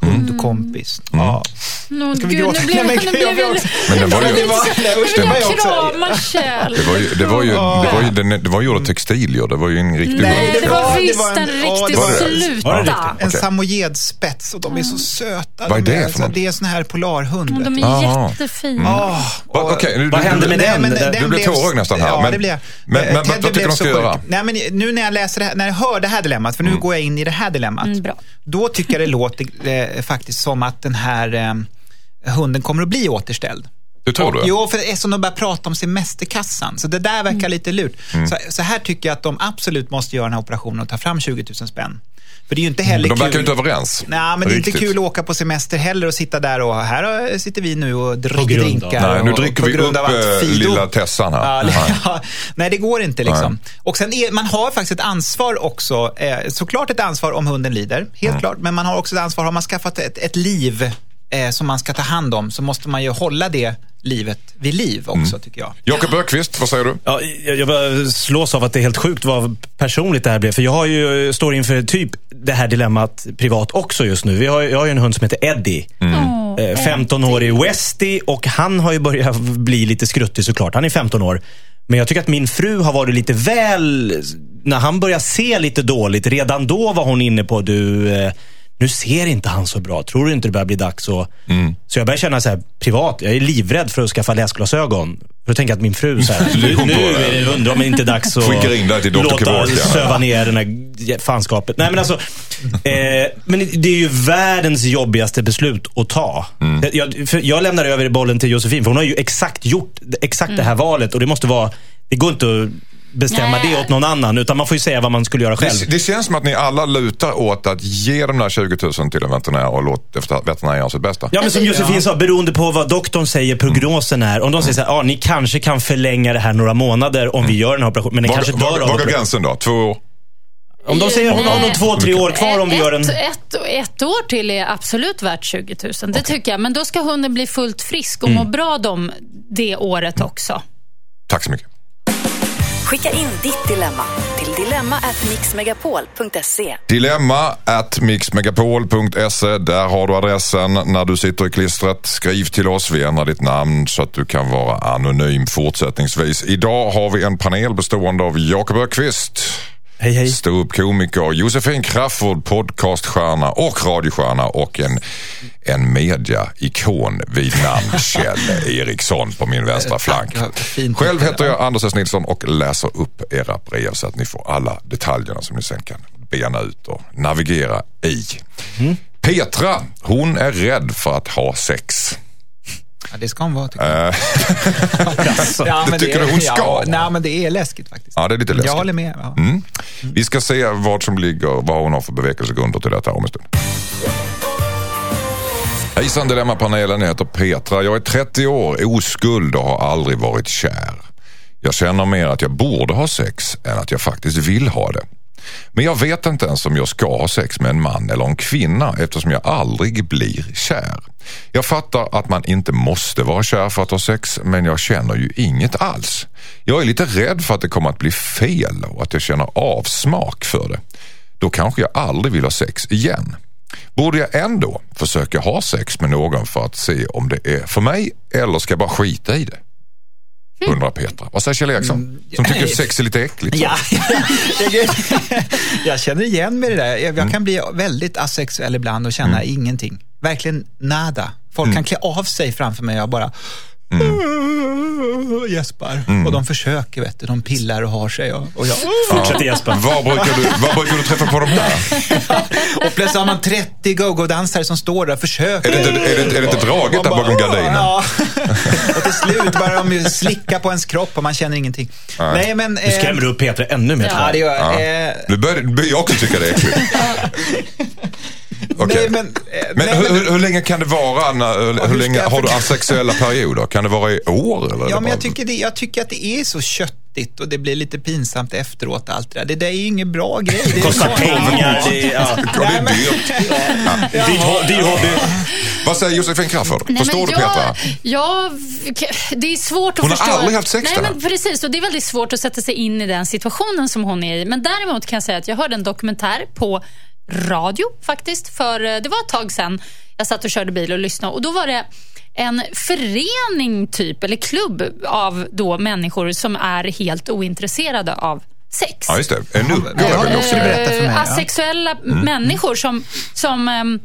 barndomshundkompis. Mm. Ja. Nå, vi gud, gråta? nu blev, Nej, men nu blev jag jag... också. Men den var ju- Nu blev jag- Det var- nu blev det var jag jag också. kramar Kjell. Det var ju, det var ju, det var ju, det, det var ju av textilier, det var ju en riktig Nej, Nej, det Ja, var det visst var en- en ja, det riktig var det. Var det riktigt? sluta. En Okej. samojedspets och de är så söta. Vad är De det för alltså, något? det är sån här polarhund. Och vet du. Mm. De Jaha. är jättefina. Åh, Va- och- okej, nu- Vad du- hände med du- den? du den blev tårögd nästan här, Ja, men- det blev jag. men- men Eh, vad Teddy tycker blev de ska så göra? Mm. sjuk. Nej, men nu när jag läser det här, när jag hör det här dilemmat, för nu går jag in i det här dilemmat, Mm, bra. då tycker jag det låter eh, faktiskt som att den här eh, hunden kommer att bli återställd. Du tror du? Jo, för det är som de börjar prata om semesterkassan. Så det där verkar Mm. lite lurt. Mm. Så, så här tycker jag att de absolut måste göra den här operationen och ta fram 20 000 spänn. För det är ju inte heller De verkar ju kul. inte överens. Nej, men Riktigt. det är inte kul att åka på semester heller och sitta där och här eh, sitter vi nu och dricker På grund av. drinkar. Nej, nu och- dricker på vi grund upp, av att eh, Fido- lilla Tessan här. Ja, Nej. ja, nej, det går inte liksom. Och sen är, man har faktiskt ett ansvar också. Eh, såklart ett ansvar om hunden lider, helt Mm. klart. Men man har också ett ansvar, har man skaffat ett, ett liv eh, som man ska ta hand om så måste man ju hålla det livet vid liv också, Mm. tycker jag. Jakob Ökvist, vad säger du? Ja, jag, jag bara slås av att det är helt sjukt vad personligt det här blev. För jag har ju, står inför typ det här dilemmat privat också just nu. Vi har, ju- jag har ju en hund som heter Eddie. Mm. Åh. Eh, 15-årig Westie och han har ju börjat bli lite skruttig såklart. Han är 15 år. Men jag tycker att min fru har varit lite väl... När han börjar se lite dåligt, redan då var hon inne på du, eh, nu ser inte han så bra. Tror du inte det börjar bli dags? Och, Mm. Så jag börjar känna så här, privat, jag är livrädd för att skaffa läsglasögon. För då tänker jag att min fru, så här, är nu, hon nu på det. är det undrar om det inte är dags att Skickar in det här till Dr. låta Kevorkian. söva ner den här fanskapet. Nej, men alltså, eh, men det är ju världens jobbigaste beslut att ta. Mm. Det- Jag, för jag lämnar över bollen till Josefin, för hon har ju exakt gjort exakt det här valet. Och det måste vara, det går inte att bestämma Mm. Nej. det åt någon annan, utan man får ju säga vad man skulle göra själv. Det, det känns som att ni alla lutar åt att ge de där 20 000 till en veterinär och låt efter- veterinären göra sitt bästa. Ja, men som Josefin sa, beroende på vad doktorn säger prognosen är. Om de säger så här, ah, ni kanske kan förlänga det här några månader om vi gör den här operationen. Men den Mm. Var, kanske var, dör av var går operationen. gränsen då? Två år? Om de säger hon har nog två, tre år kvar om vi gör en... ett, ett, ett år till är absolut värt 20 000, det tycker jag. Men då ska hunden bli Mm. fullt frisk och må bra de, det året också. Tack så mycket. Skicka in ditt dilemma till dilemma@mixmegapol.se. Dilemma at mixmegapol.se. Där har du adressen när du sitter i klistret. Skriv till oss, vi ändrar ditt namn så att du kan vara anonym fortsättningsvis. Idag har vi en panel bestående av Jakob Öqvist, Hej, hej. ståuppkomiker, Josefin Crafoord, podcaststjärna och radiostjärna och en, en mediaikon vid namn Kjell Eriksson på min vänstra flank. Eh, Ja, fint. Själv heter jag Anders S. Nilsson och läser upp era brev så att ni får alla detaljerna som ni sen kan bena ut och navigera i. Mm. Petra, hon är rädd för att ha sex. Ja, det ska hon vara. tycker jag. ja, det tycker Eh. du hon ska Ja, vara? nej, men det är läskigt faktiskt. Ja, det är lite läskigt. Jag håller med. Ja. Mm. Vi ska se vad som ligger, vad hon har för bevekelsegrunder till detta om en stund. Hejsan Dilemmapanelen, jag heter Petra. Jag är 30 år, oskuld och har aldrig varit kär. Jag känner mer att jag borde ha sex än att jag faktiskt vill ha det. Men jag vet inte ens om jag ska ha sex med en man eller en kvinna eftersom jag aldrig blir kär. Jag fattar att man inte måste vara kär för att ha sex men jag känner ju inget alls. Jag är lite rädd för att det kommer att bli fel och att jag känner avsmak för det. Då kanske jag aldrig vill ha sex igen. Borde jag ändå försöka ha sex med någon för att se om det är för mig eller ska jag bara skita i det? Undrar Petra. Vad säger Kjell Eriksson? Som tycker sex är lite äckligt. Hm. Mm, Ja, jag, jag känner igen mig i det där. Jag, jag Mm. kan bli väldigt asexuell ibland och känna ingenting. Verkligen nada. Folk Mm. kan klä av sig framför mig och jag bara gäspar. Mm. Och de försöker, vet du. De pillar och har sig. Och, och, jag, Fortsätt Jesper. Var brukar, du, var brukar du träffa på de där? och plötsligt har man 30 go-go-dansare som står där och försöker. Är det inte, är det, inte- är det inte draget där bakom gardinen? Ja. och till slut börjar de ju slicka på ens kropp och man känner ingenting. Nej, men... Du eh, skrämmer upp Petra ännu mer. tror jag. Ja, det gör jag. Ja. Eh, Nu börjar nu börjar jag också tycka det är äckligt. Okej. Nej, men, eh, Men nej, hur, hur, hur länge kan det vara? När, hur, hur hur länge ska jag har du förklara- asexuella perioder? Kan det vara i år? Eller är det Ja, men bara- jag tycker, det, jag tycker att det är så köttigt och det blir lite pinsamt efteråt allt det där. Det där är ju ingen bra grej. Det är Kostar ju- pengar. Ja. Det, är- ja. Ja, det är dyrt. Dyr ho- dyr hobby. Vad säger Josefin Crafoord? Nej, men Förstår du jag, Petra? Jag, det är svårt att Hon har förstå. aldrig haft sex Nej, där. men Precis, och det är väldigt svårt att sätta sig in i den situationen som hon är i. Men däremot kan jag säga att jag hörde en dokumentär på radio faktiskt. För eh, Det var ett tag sedan jag satt och körde bil och lyssnade. Och Då var det en förening typ, eller klubb av då människor som är helt ointresserade av sex. Ja, just det. Eh, En upp Ja, är väl det också skulle det. berätta för mig, Eh, ja. Asexuella Mm. människor som, som ehm,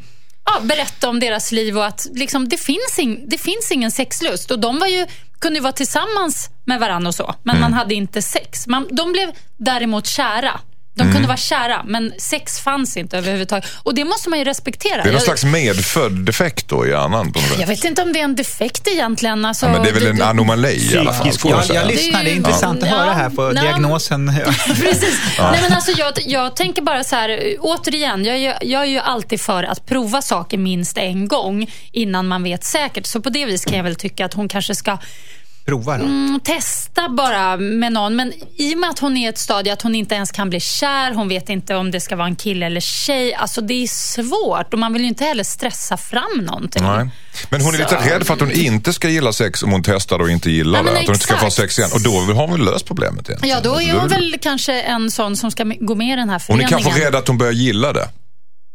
ja, berättar om deras liv och att liksom, det, finns ing, det finns ingen sexlust. Och de var ju, kunde ju vara tillsammans med varandra och så, men Mm. man hade inte sex. Man, de blev däremot kära. De kunde Mm. vara kära, men sex fanns inte överhuvudtaget. Och det måste man ju respektera. Det är någon Jag- slags medfödd defekt då i hjärnan på något jag sätt. vet inte om det är en defekt egentligen. Alltså, Ja, men det är väl du- en du- anomali i alla fall. Psykisk får man Jag, säga. jag lyssnar, det är intressant att Ja. höra här på Ja. diagnosen. Precis. Nej, men alltså, jag, jag tänker bara så här, eh, återigen, jag, är ju- jag är ju alltid för att prova saker minst en gång innan man vet säkert. Så på det vis kan jag väl tycka att hon kanske ska Prova då. mm, testa bara med någon. Men i och med att hon är i ett stadie att hon inte ens kan bli kär, hon vet inte om det ska vara en kille eller tjej. Alltså det är svårt och man vill ju inte heller stressa fram någonting. Nej. Men hon är lite Så. rädd för att hon inte ska gilla sex om hon testar och inte gillar Ja, men det. Att hon inte ska få ha sex igen. exakt. Och då har hon väl löst problemet egentligen. Ja, då är är hon det- väl kanske en sån som ska gå med i den här Hon är föreningen. kanske rädd att hon börjar gilla det.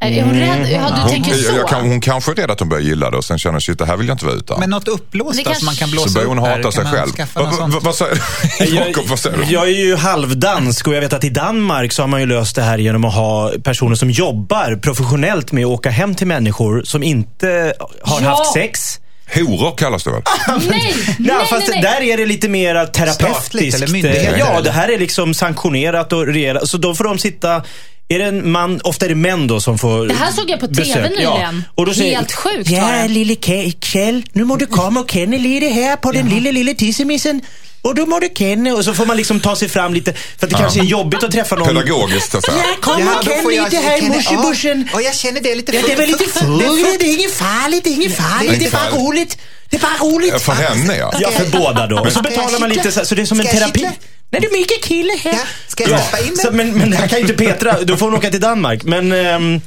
Är hon rädd? Ja, du Hon, tänker jag- så? jag kan, hon kanske är rädd att hon börjar gilla det och sen känner shit, det här vill jag inte vara utan. Men något uppblåst Det då, kanske- som man kan blåsa så börjar hon upp här. hata sig Kan man själv. skaffa Va- något va- sånt? Vad säger Jakob, vad säger du? jag är ju halvdansk och jag vet att i Danmark så har man ju löst det här genom att ha personer som jobbar professionellt med att åka hem till människor som inte har Ja. haft sex. Horor kallas det väl? Nej, Nej, nej, fast nej, nej. där är det lite mer Statligt terapeutiskt. eller myndighet, ja, eller? det här är liksom sanktionerat och regerat. Så då får de sitta är det en man, ofta är det män då som får Det här såg jag på TV nyligen. Och då säger, Helt sjukt var Ja, det." lille Ke- Kjell, nu må du komme og kende lille her på den lille, lille tissemissen. Och du må du känna Och så får man liksom ta sig fram lite, för att det kanske är jobbigt att träffa någon. Pedagogiskt så att säga. Ja, kom Ja, och då känn får jag- lite här i känner- ja. morsebussen. Ja, jag känner det är lite Ja, det är väl lite fugligt, det det. är inget farligt, det är inget farligt, det är bara farligt. roligt. Det är bara roligt. Ja, För henne ja. Ja, för båda då. Och så Ska jag betalar man kittla? lite så, här, så det är som en Ska jag terapi. kittla? Nej, du är mycket kille här. Ja, ska jag Ja. släppa in Så, den? men, men det här kan ju inte Petra, då får hon åka till Danmark. Men ehm,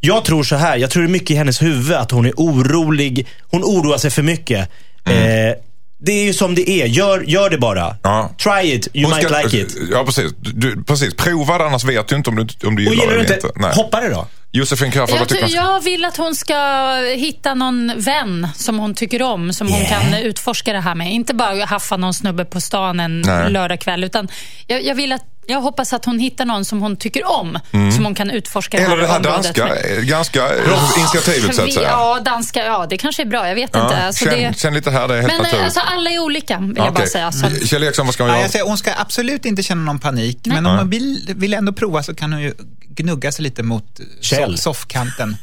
jag tror så här, jag tror det är mycket i hennes huvud att hon är orolig. Hon oroar sig för mycket. Eh, det är ju som det är. Gör, gör det bara. Mm. Ja. Try it, you Hon might ska- like it. Ja, precis. Du, precis. Prova det, annars vet du inte om du, om du gillar Och gillar det du eller inte, inte. Nej. hoppa det då. Josefin Crafoord, vad Jag, tycker ty- du? jag vill att hon ska hitta någon vän som hon tycker om, som hon kan eh, utforska det här med. Inte bara haffa någon snubbe på stan en Nej. lördagkväll, utan jag, jag, vill att, jag hoppas att hon hittar någon som hon tycker om, som hon kan utforska Mm. Eller det här området danska, med. eh, ganska eh, initiativet så att Vi- säga. Ja, danska, ja, det kanske är bra. Jag vet Ja, inte. Alltså, känn, det... känn lite här, det är helt Men eh, naturligt. alltså, alla är olika, vill Ja, jag bara okej. säga. Så. att- Kjell Eriksson, vad ska man Ja, göra? jag säger, hon ska absolut inte känna någon panik, men om Nej. hon vill, vill ändå prova så kan hon ju gnugga sig lite mot Kjell. soff- soffkanten.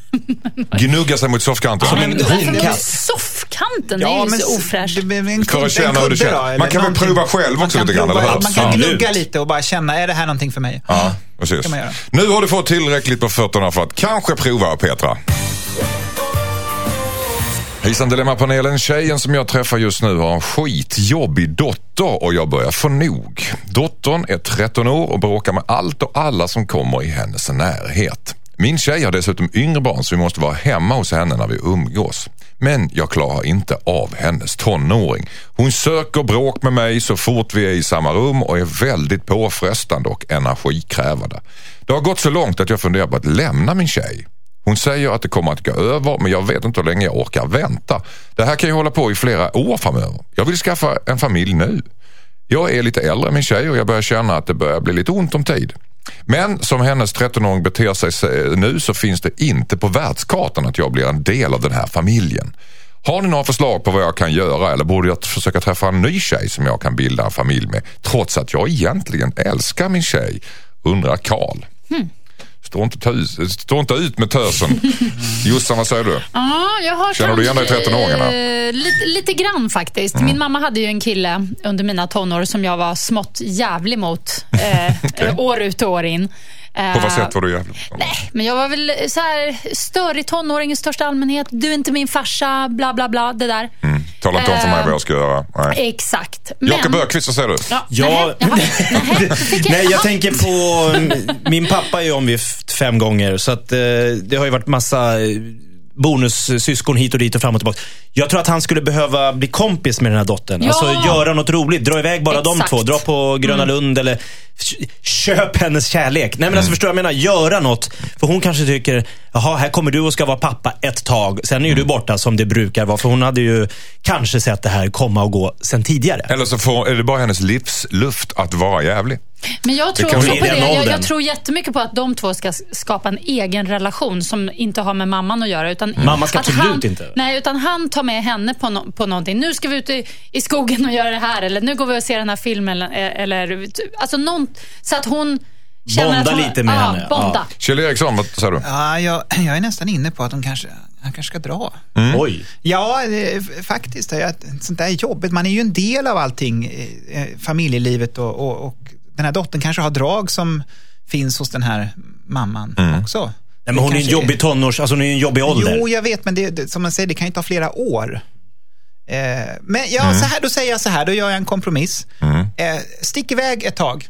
Gnugga sig mot soffkanten. Som en Varför honkatt. mot soffkanten? det är ju så s- ofräscht. det blir en kudde- För att känna en hur det kudde känns. då, Man eller kan väl någonting. prova själv Man också kan lite grann, prova- eller hur? ja, Man kan Absolut. gnugga lite och bara känna, är det här någonting för mig? Ja, precis. kan man göra. Nu har du fått tillräckligt på fötterna för att kanske prova, Petra. Hejsan Dilemmapanelen. Tjejen som jag träffar just nu har en skitjobbig dotter och jag börjar få nog. Dottern är 13 år och bråkar med allt och alla som kommer i hennes närhet. Min tjej har dessutom yngre barn så vi måste vara hemma hos henne när vi umgås. Men jag klarar inte av hennes tonåring. Hon söker bråk med mig så fort vi är i samma rum och är väldigt påfrestande och energikrävande. Det har gått så långt att jag funderar på att lämna min tjej. Hon säger att det kommer att gå över men jag vet inte hur länge jag orkar vänta. Det här kan ju hålla på i flera år framöver. Jag vill skaffa en familj nu. Jag är lite äldre än min tjej och jag börjar känna att det börjar bli lite ont om tid. Men som hennes 13-åring beter sig se- nu så finns det inte på världskartan att jag blir en del av den här familjen. Har ni några förslag på vad jag kan göra eller borde jag t- försöka träffa en ny tjej som jag kan bilda en familj med trots att jag egentligen älskar min tjej? Undrar Karl. Stå inte, tös, stå inte ut med tösen. Jossan, vad säger du? Ja, jag har Känner du igen dig i Mm. kanske, 13-åringarna? eh, lite, lite grann faktiskt. Min mamma hade ju en kille under mina tonår som jag var smått jävlig mot. Eh, eh, År ut och år in. Eh, På vad sätt var du jävlig? Men jag var väl så här störig tonåring i största allmänhet. Du är inte min farsa, bla bla bla. Det där. Mm. Tala inte om för mig vad jag ska göra. Nej. Exakt. Jakob Öqvist, vad säger du? Eh, Ja, Ja. nähä, jaha, nähä, då fick Nej, jaha. jag tänker på... mm, Min pappa är ju omgift fem gånger, så att, eh, det har ju varit massa eh, bonussyskon hit och dit och fram och tillbaka. Jag tror att han skulle behöva bli kompis med den här dottern. Ja! Alltså göra något roligt. Dra iväg bara de Exakt. Mm. två. Dra på Gröna Lund eller k- köp hennes kärlek. Nej men alltså förstår du vad jag menar? Göra något. För hon kanske tycker, jaha här kommer du och ska vara pappa ett tag. Sen är ju du borta som det brukar vara. För hon hade ju kanske sett det här komma och gå sen tidigare. Eller så får, är det bara hennes livsluft att vara jävlig. Men jag tror kan också bli på den det. Jag, åldern. jag tror jättemycket på att de två ska s- skapa en egen relation som inte har med mamman att göra. Utan Mm. Mamma ska att absolut han, inte. Nej, utan han tar med henne på, nå- på någonting. Nu ska vi ut i, i skogen och göra det här. Eller nu går vi och ser den här filmen. Eller, eller, alltså någon, så att hon känner Bonda att hon, lite med ja, henne, ja. Bonda. Kjell Eriksson, vad säger du? Ja, jag, jag är nästan inne på att hon kanske, han kanske ska dra. Oj. Ja, eh, f- faktiskt. det är- Sånt där är jobbigt. Man är ju en del av allting, eh, eh, familjelivet och, och, och den här dottern kanske har drag som finns hos den här mamman Mm. också. Nej, Det men hon är ju en kanske jobbig tonårs... Alltså hon är ju en jobbig ålder. Jo, jag vet, men det, det, som man säger, det kan ju ta flera år. Eh, men ja, Mm. så här, då säger jag så här, då gör jag en kompromiss. Eh, stick iväg ett tag.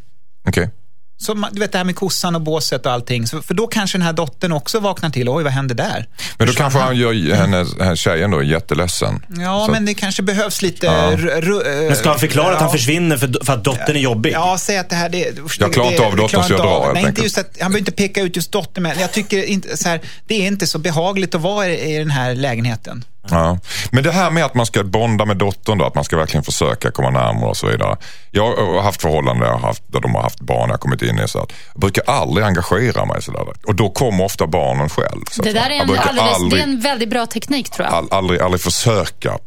Okej. Så man, du vet det här med kossan och båset och allting. Så, för då kanske den här dottern också vaknar till. Oj, vad hände där? Men då kanske han gör henne, den här tjejen då, jätteledsen. Ja, Så- men det kanske behövs lite... Ja. ru- ru- eh, Men ska han förklara att han ja. försvinner för, för att dottern är jobbig? Ja, säg att det här... Det, usch, Jag klarar det- inte av det dottern, klarar så jag inte drar, av- helt Nej, inte enkelt. just att, han behöver inte peka ut just dottern, men jag tycker inte så här, det är inte så behagligt att vara i, i den här lägenheten. Ja. Men det här med att man ska bonda med dottern då, att man ska verkligen försöka komma närmare och så vidare. Jag har haft förhållanden där, jag har haft, där de har haft barn jag har kommit in i. Så att jag brukar aldrig engagera mig sådär. Och då kommer ofta barnen själv. Så Det att där säga. är jag en, brukar alldeles, Alltså, aldrig, det är en väldigt bra teknik tror jag. all, aldrig, aldrig försöka. eh,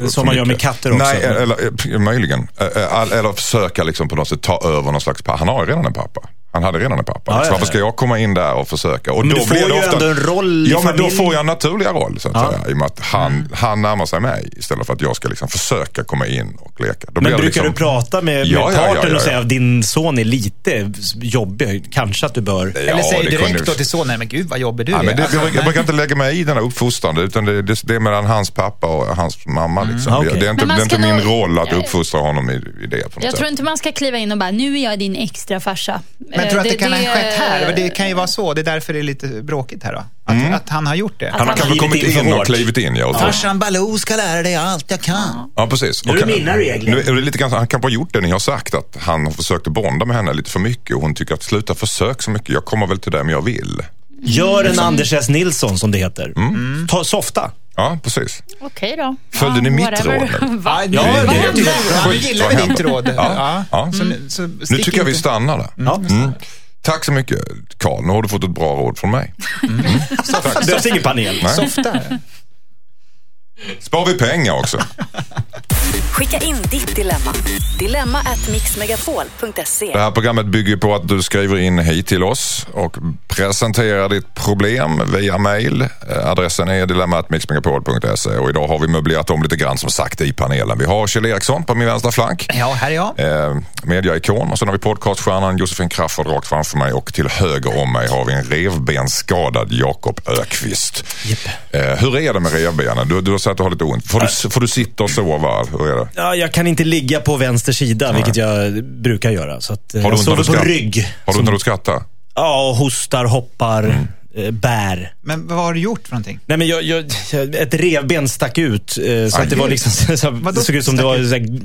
för Som man gör mycket. med katter också. Nej, eller, eh, möjligen. Eh, eh, all- Eller försöka liksom på något sätt ta över någon slags pappa. Han har ju redan en pappa. Han hade redan en pappa. Ja, så ja, varför ja. ska jag komma in där och försöka? Och Men då du får blir det ju ofta... ändå en roll i Ja, men då familjen. får jag en naturlig roll så att Ja. Mm. säga. I och med att han, han närmar sig mig istället för att jag ska liksom försöka komma in och leka. Då blir Men jag brukar liksom... du prata med, med Ja, ja, ja, partnern ja, ja. och säga att din son är lite jobbig? Kanske att du bör... Ja, Eller säg det direkt kunde- då till sonen, men gud vad jobbig du Nej, är. men det, Alltså, jag, jag brukar inte lägga mig i den här uppfostran. Utan det, det, det är mellan hans pappa och hans mamma. Liksom. Ah, okej. Det- Det är inte, det Men man är inte ska min nog- roll att jag- uppfostra honom i, i det. På något Jag sätt. tror inte man ska kliva in och bara, nu är jag din extra farsa. Men Eh, tror du att det, kan det- ha skett här? Det kan ju vara så. Det är därför det är lite bråkigt här då. Att, Mm. att han har gjort det. Att Han har han kanske har kommit klivit in för in och hårt. klivit in. Ja, och trott- Farsan Baloo ska lära dig allt jag kan. Ja, precis. Nu är det Och- mina regler. Nu är det lite grann, så- han kanske har gjort det när jag har sagt att han har försökt att bonda med henne lite för mycket och hon tycker att sluta försök så mycket. Jag kommer väl till det om jag vill. Gör Liksom. en Anders S. Nilsson som det heter. Mm. Ta, softa. Ja, precis. Okej då. Följde ni mitt råd nu? Va? Ja, det- det, det- han skit, gillar vad väl ditt händer? råd. Ja, ja. Mm. Så, nu- så Nu stick tycker jag vi inte- stannar där. Mm. Tack så mycket, Karl. Nu har du fått ett bra råd från mig. Det behövs ingen panel. Nej. Softare. Spar vi pengar också? Skicka in ditt dilemma. Dilemma at mixmegapol.se. Det här programmet bygger på att du skriver in hit till oss och presenterar ditt problem via mail. Eh, Adressen är dilemmatmixmegapol.se och idag har vi möblerat om lite grann som sagt i panelen. Vi har Kjell Eriksson på min vänstra flank. Ja, här är jag. eh, mediaikon och sen har vi podcaststjärnan Josefin Crafoord rakt framför mig och till höger om mig har vi en revbensskadad Jakob Ökvist. Eh, hur är det med revbenen? Du, du har sagt att du har lite ont. Får du, får du sitta och sova? Hur är det? Ja, jag kan inte ligga på vänster sida, vilket jag brukar göra. Så att, eh, Har du ont jag när sover du på skrattar? rygg. Har du Som- ont när du skrattar? Ja, och hostar, hoppar, Mm. eh, bär. Men vad har du gjort för någonting? Nej, men jag, jag, jag- ett revben stack ut. eh, Så Aj. att det var liksom, så, så, det såg ut som det var... Så, här-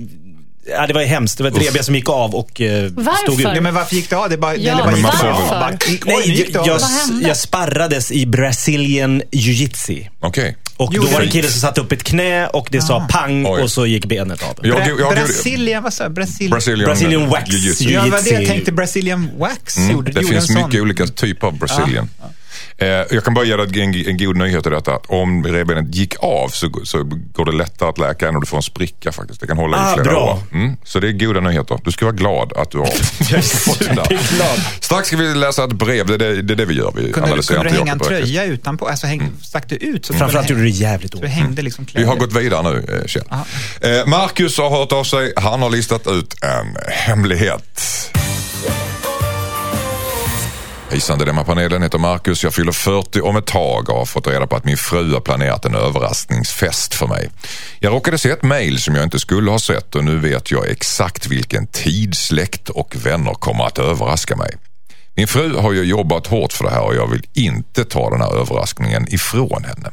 ja, det var hemskt. Det var ett Uff. revben som gick av och eh, Varför? stod ut. Ja, men varför gick det av? Det bara, Ja, eller bara Men man får väl- Bara, gick- oj, nu Nej, gick det jag, av. jag, Vad hände? jag sparrades i Brazilian jiu-jitsu. Okej. Och Jo, Ah. då var det en fint. kille som satte upp ett knä och det sa pang Oj. och så gick benet av. Jag- jag- jag- Brasilien, vad sa jag? Brasilien. Brazilian, Brazilian wax. jiu-jitsu. Ja, det var det jag Jiu-jitsu. tänkte. Brazilian wax Mm, gjorde, det gjorde finns en mycket sån. olika typer av Brasilien. Eh, jag kan bara ge dig en, en god nyhet i detta. Om revbenet gick av så, så går det lättare att läka än om du får en spricka faktiskt. Det kan hålla Ah, i flera bra. år. Mm, så det är goda nyheter. Du ska vara glad att du har fått den där. Strax ska vi läsa ett brev. Det är det, det, är det vi gör. Vi Kunde, du- analyserar kunde du inte hänga en Jakob Öqvist. tröja utanpå? Alltså, häng, stack du ut? Så Framförallt gjorde det jävligt ont. Du hängde liksom Mm. Vi kläder. har gått vidare nu, eh, Kjell. Eh, Marcus har hört av sig. Han har listat ut en hemlighet. Hejsan Dilemmapanelen, heter Marcus. Jag fyller 40 om ett tag och har fått reda på att min fru har planerat en överraskningsfest för mig. Jag råkade se ett mejl som jag inte skulle ha sett och nu vet jag exakt vilken tid släkt och vänner kommer att överraska mig. Min fru har ju jobbat hårt för det här och jag vill inte ta den här överraskningen ifrån henne.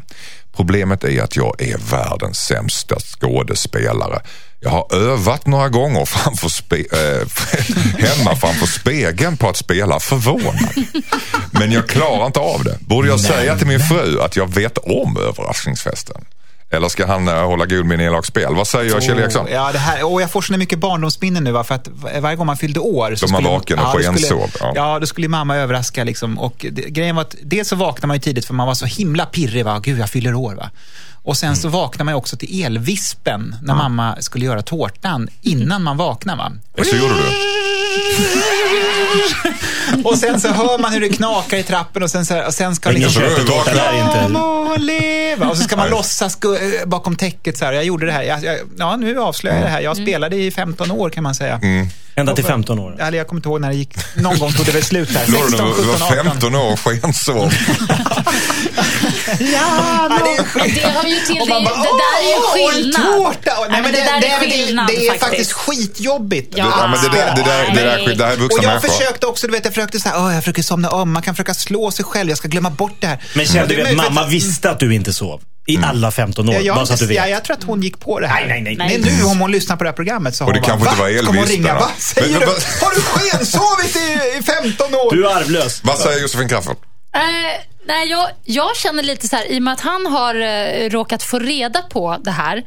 Problemet är att jag är världens sämsta skådespelare. Jag har övat några gånger framför spe- eh, hemma framför spegeln på att spela förvånad. Men jag klarar inte av det. Borde jag säga till min fru att jag vet om överraskningsfesten? Eller ska han eh, hålla god med en elak spel? Vad säger jag Kjell Eriksson? Åh, ja, det här, åh, jag får så mycket barndomsminnen nu. Va? För att var- varje gång man fyllde år... Så Då man skulle- vaken och då skensov, skulle- ja. Ja. då skulle mamma överraska. Liksom. Och det, grejen var att dels så vaknade man ju tidigt för man var så himla pirrig. Va? Gud, jag fyller år. Va? Och sen Mm. så vaknade man ju också till elvispen när mamma skulle göra tårtan innan man vaknade. Va? Så gjorde du. Och sen så hör man hur det knakar i trappen och sen, så här, och sen ska liksom... så- köttårta där inte. Må leva. Och så ska man Nej. låtsas gå, eh, bakom täcket så här. Jag gjorde det här. Jag, jag, ja, nu avslöjar jag det här. Jag Mm. spelade i 15 år kan man säga. Mm. Ända till 15 år. Eller jag kommer inte ihåg när det gick. Någon gång tog det väl slut där. Lorna, 16, Du 17, var 18. 15 år och skensov. Det har ju till det, det Man bara, där är ju "Åh, en skillnad. tårta! Nej, men men det där är nej, men skillnad Det är faktiskt faktiskt. skitjobbigt. Ja. Ja, men det, där, det, där, det, där, skit- det här är vuxna Och jag människor. försökte också, du vet, jag försökte så här, "Åh, jag försöker somna om, man kan försöka slå sig själv, jag ska glömma bort det här. Men kände det är du att möjligt mamma att- visste att du inte sov? I alla 15 år? Ja, jag, bara så att du vet. ja, jag tror att hon gick på det här. Nej, nej, nej. Men nu om hon lyssnar på det här programmet så har det hon kanske inte var Kommer hon Elvis ringa? där, Va? då?" Säger Men- du? men- Har du skensovit i, i 15 år? Du är arvlös. Vad säger Josefin Crafoord? Eh, nej, jag, jag känner lite så här, i och med att han har eh, råkat få reda på det här.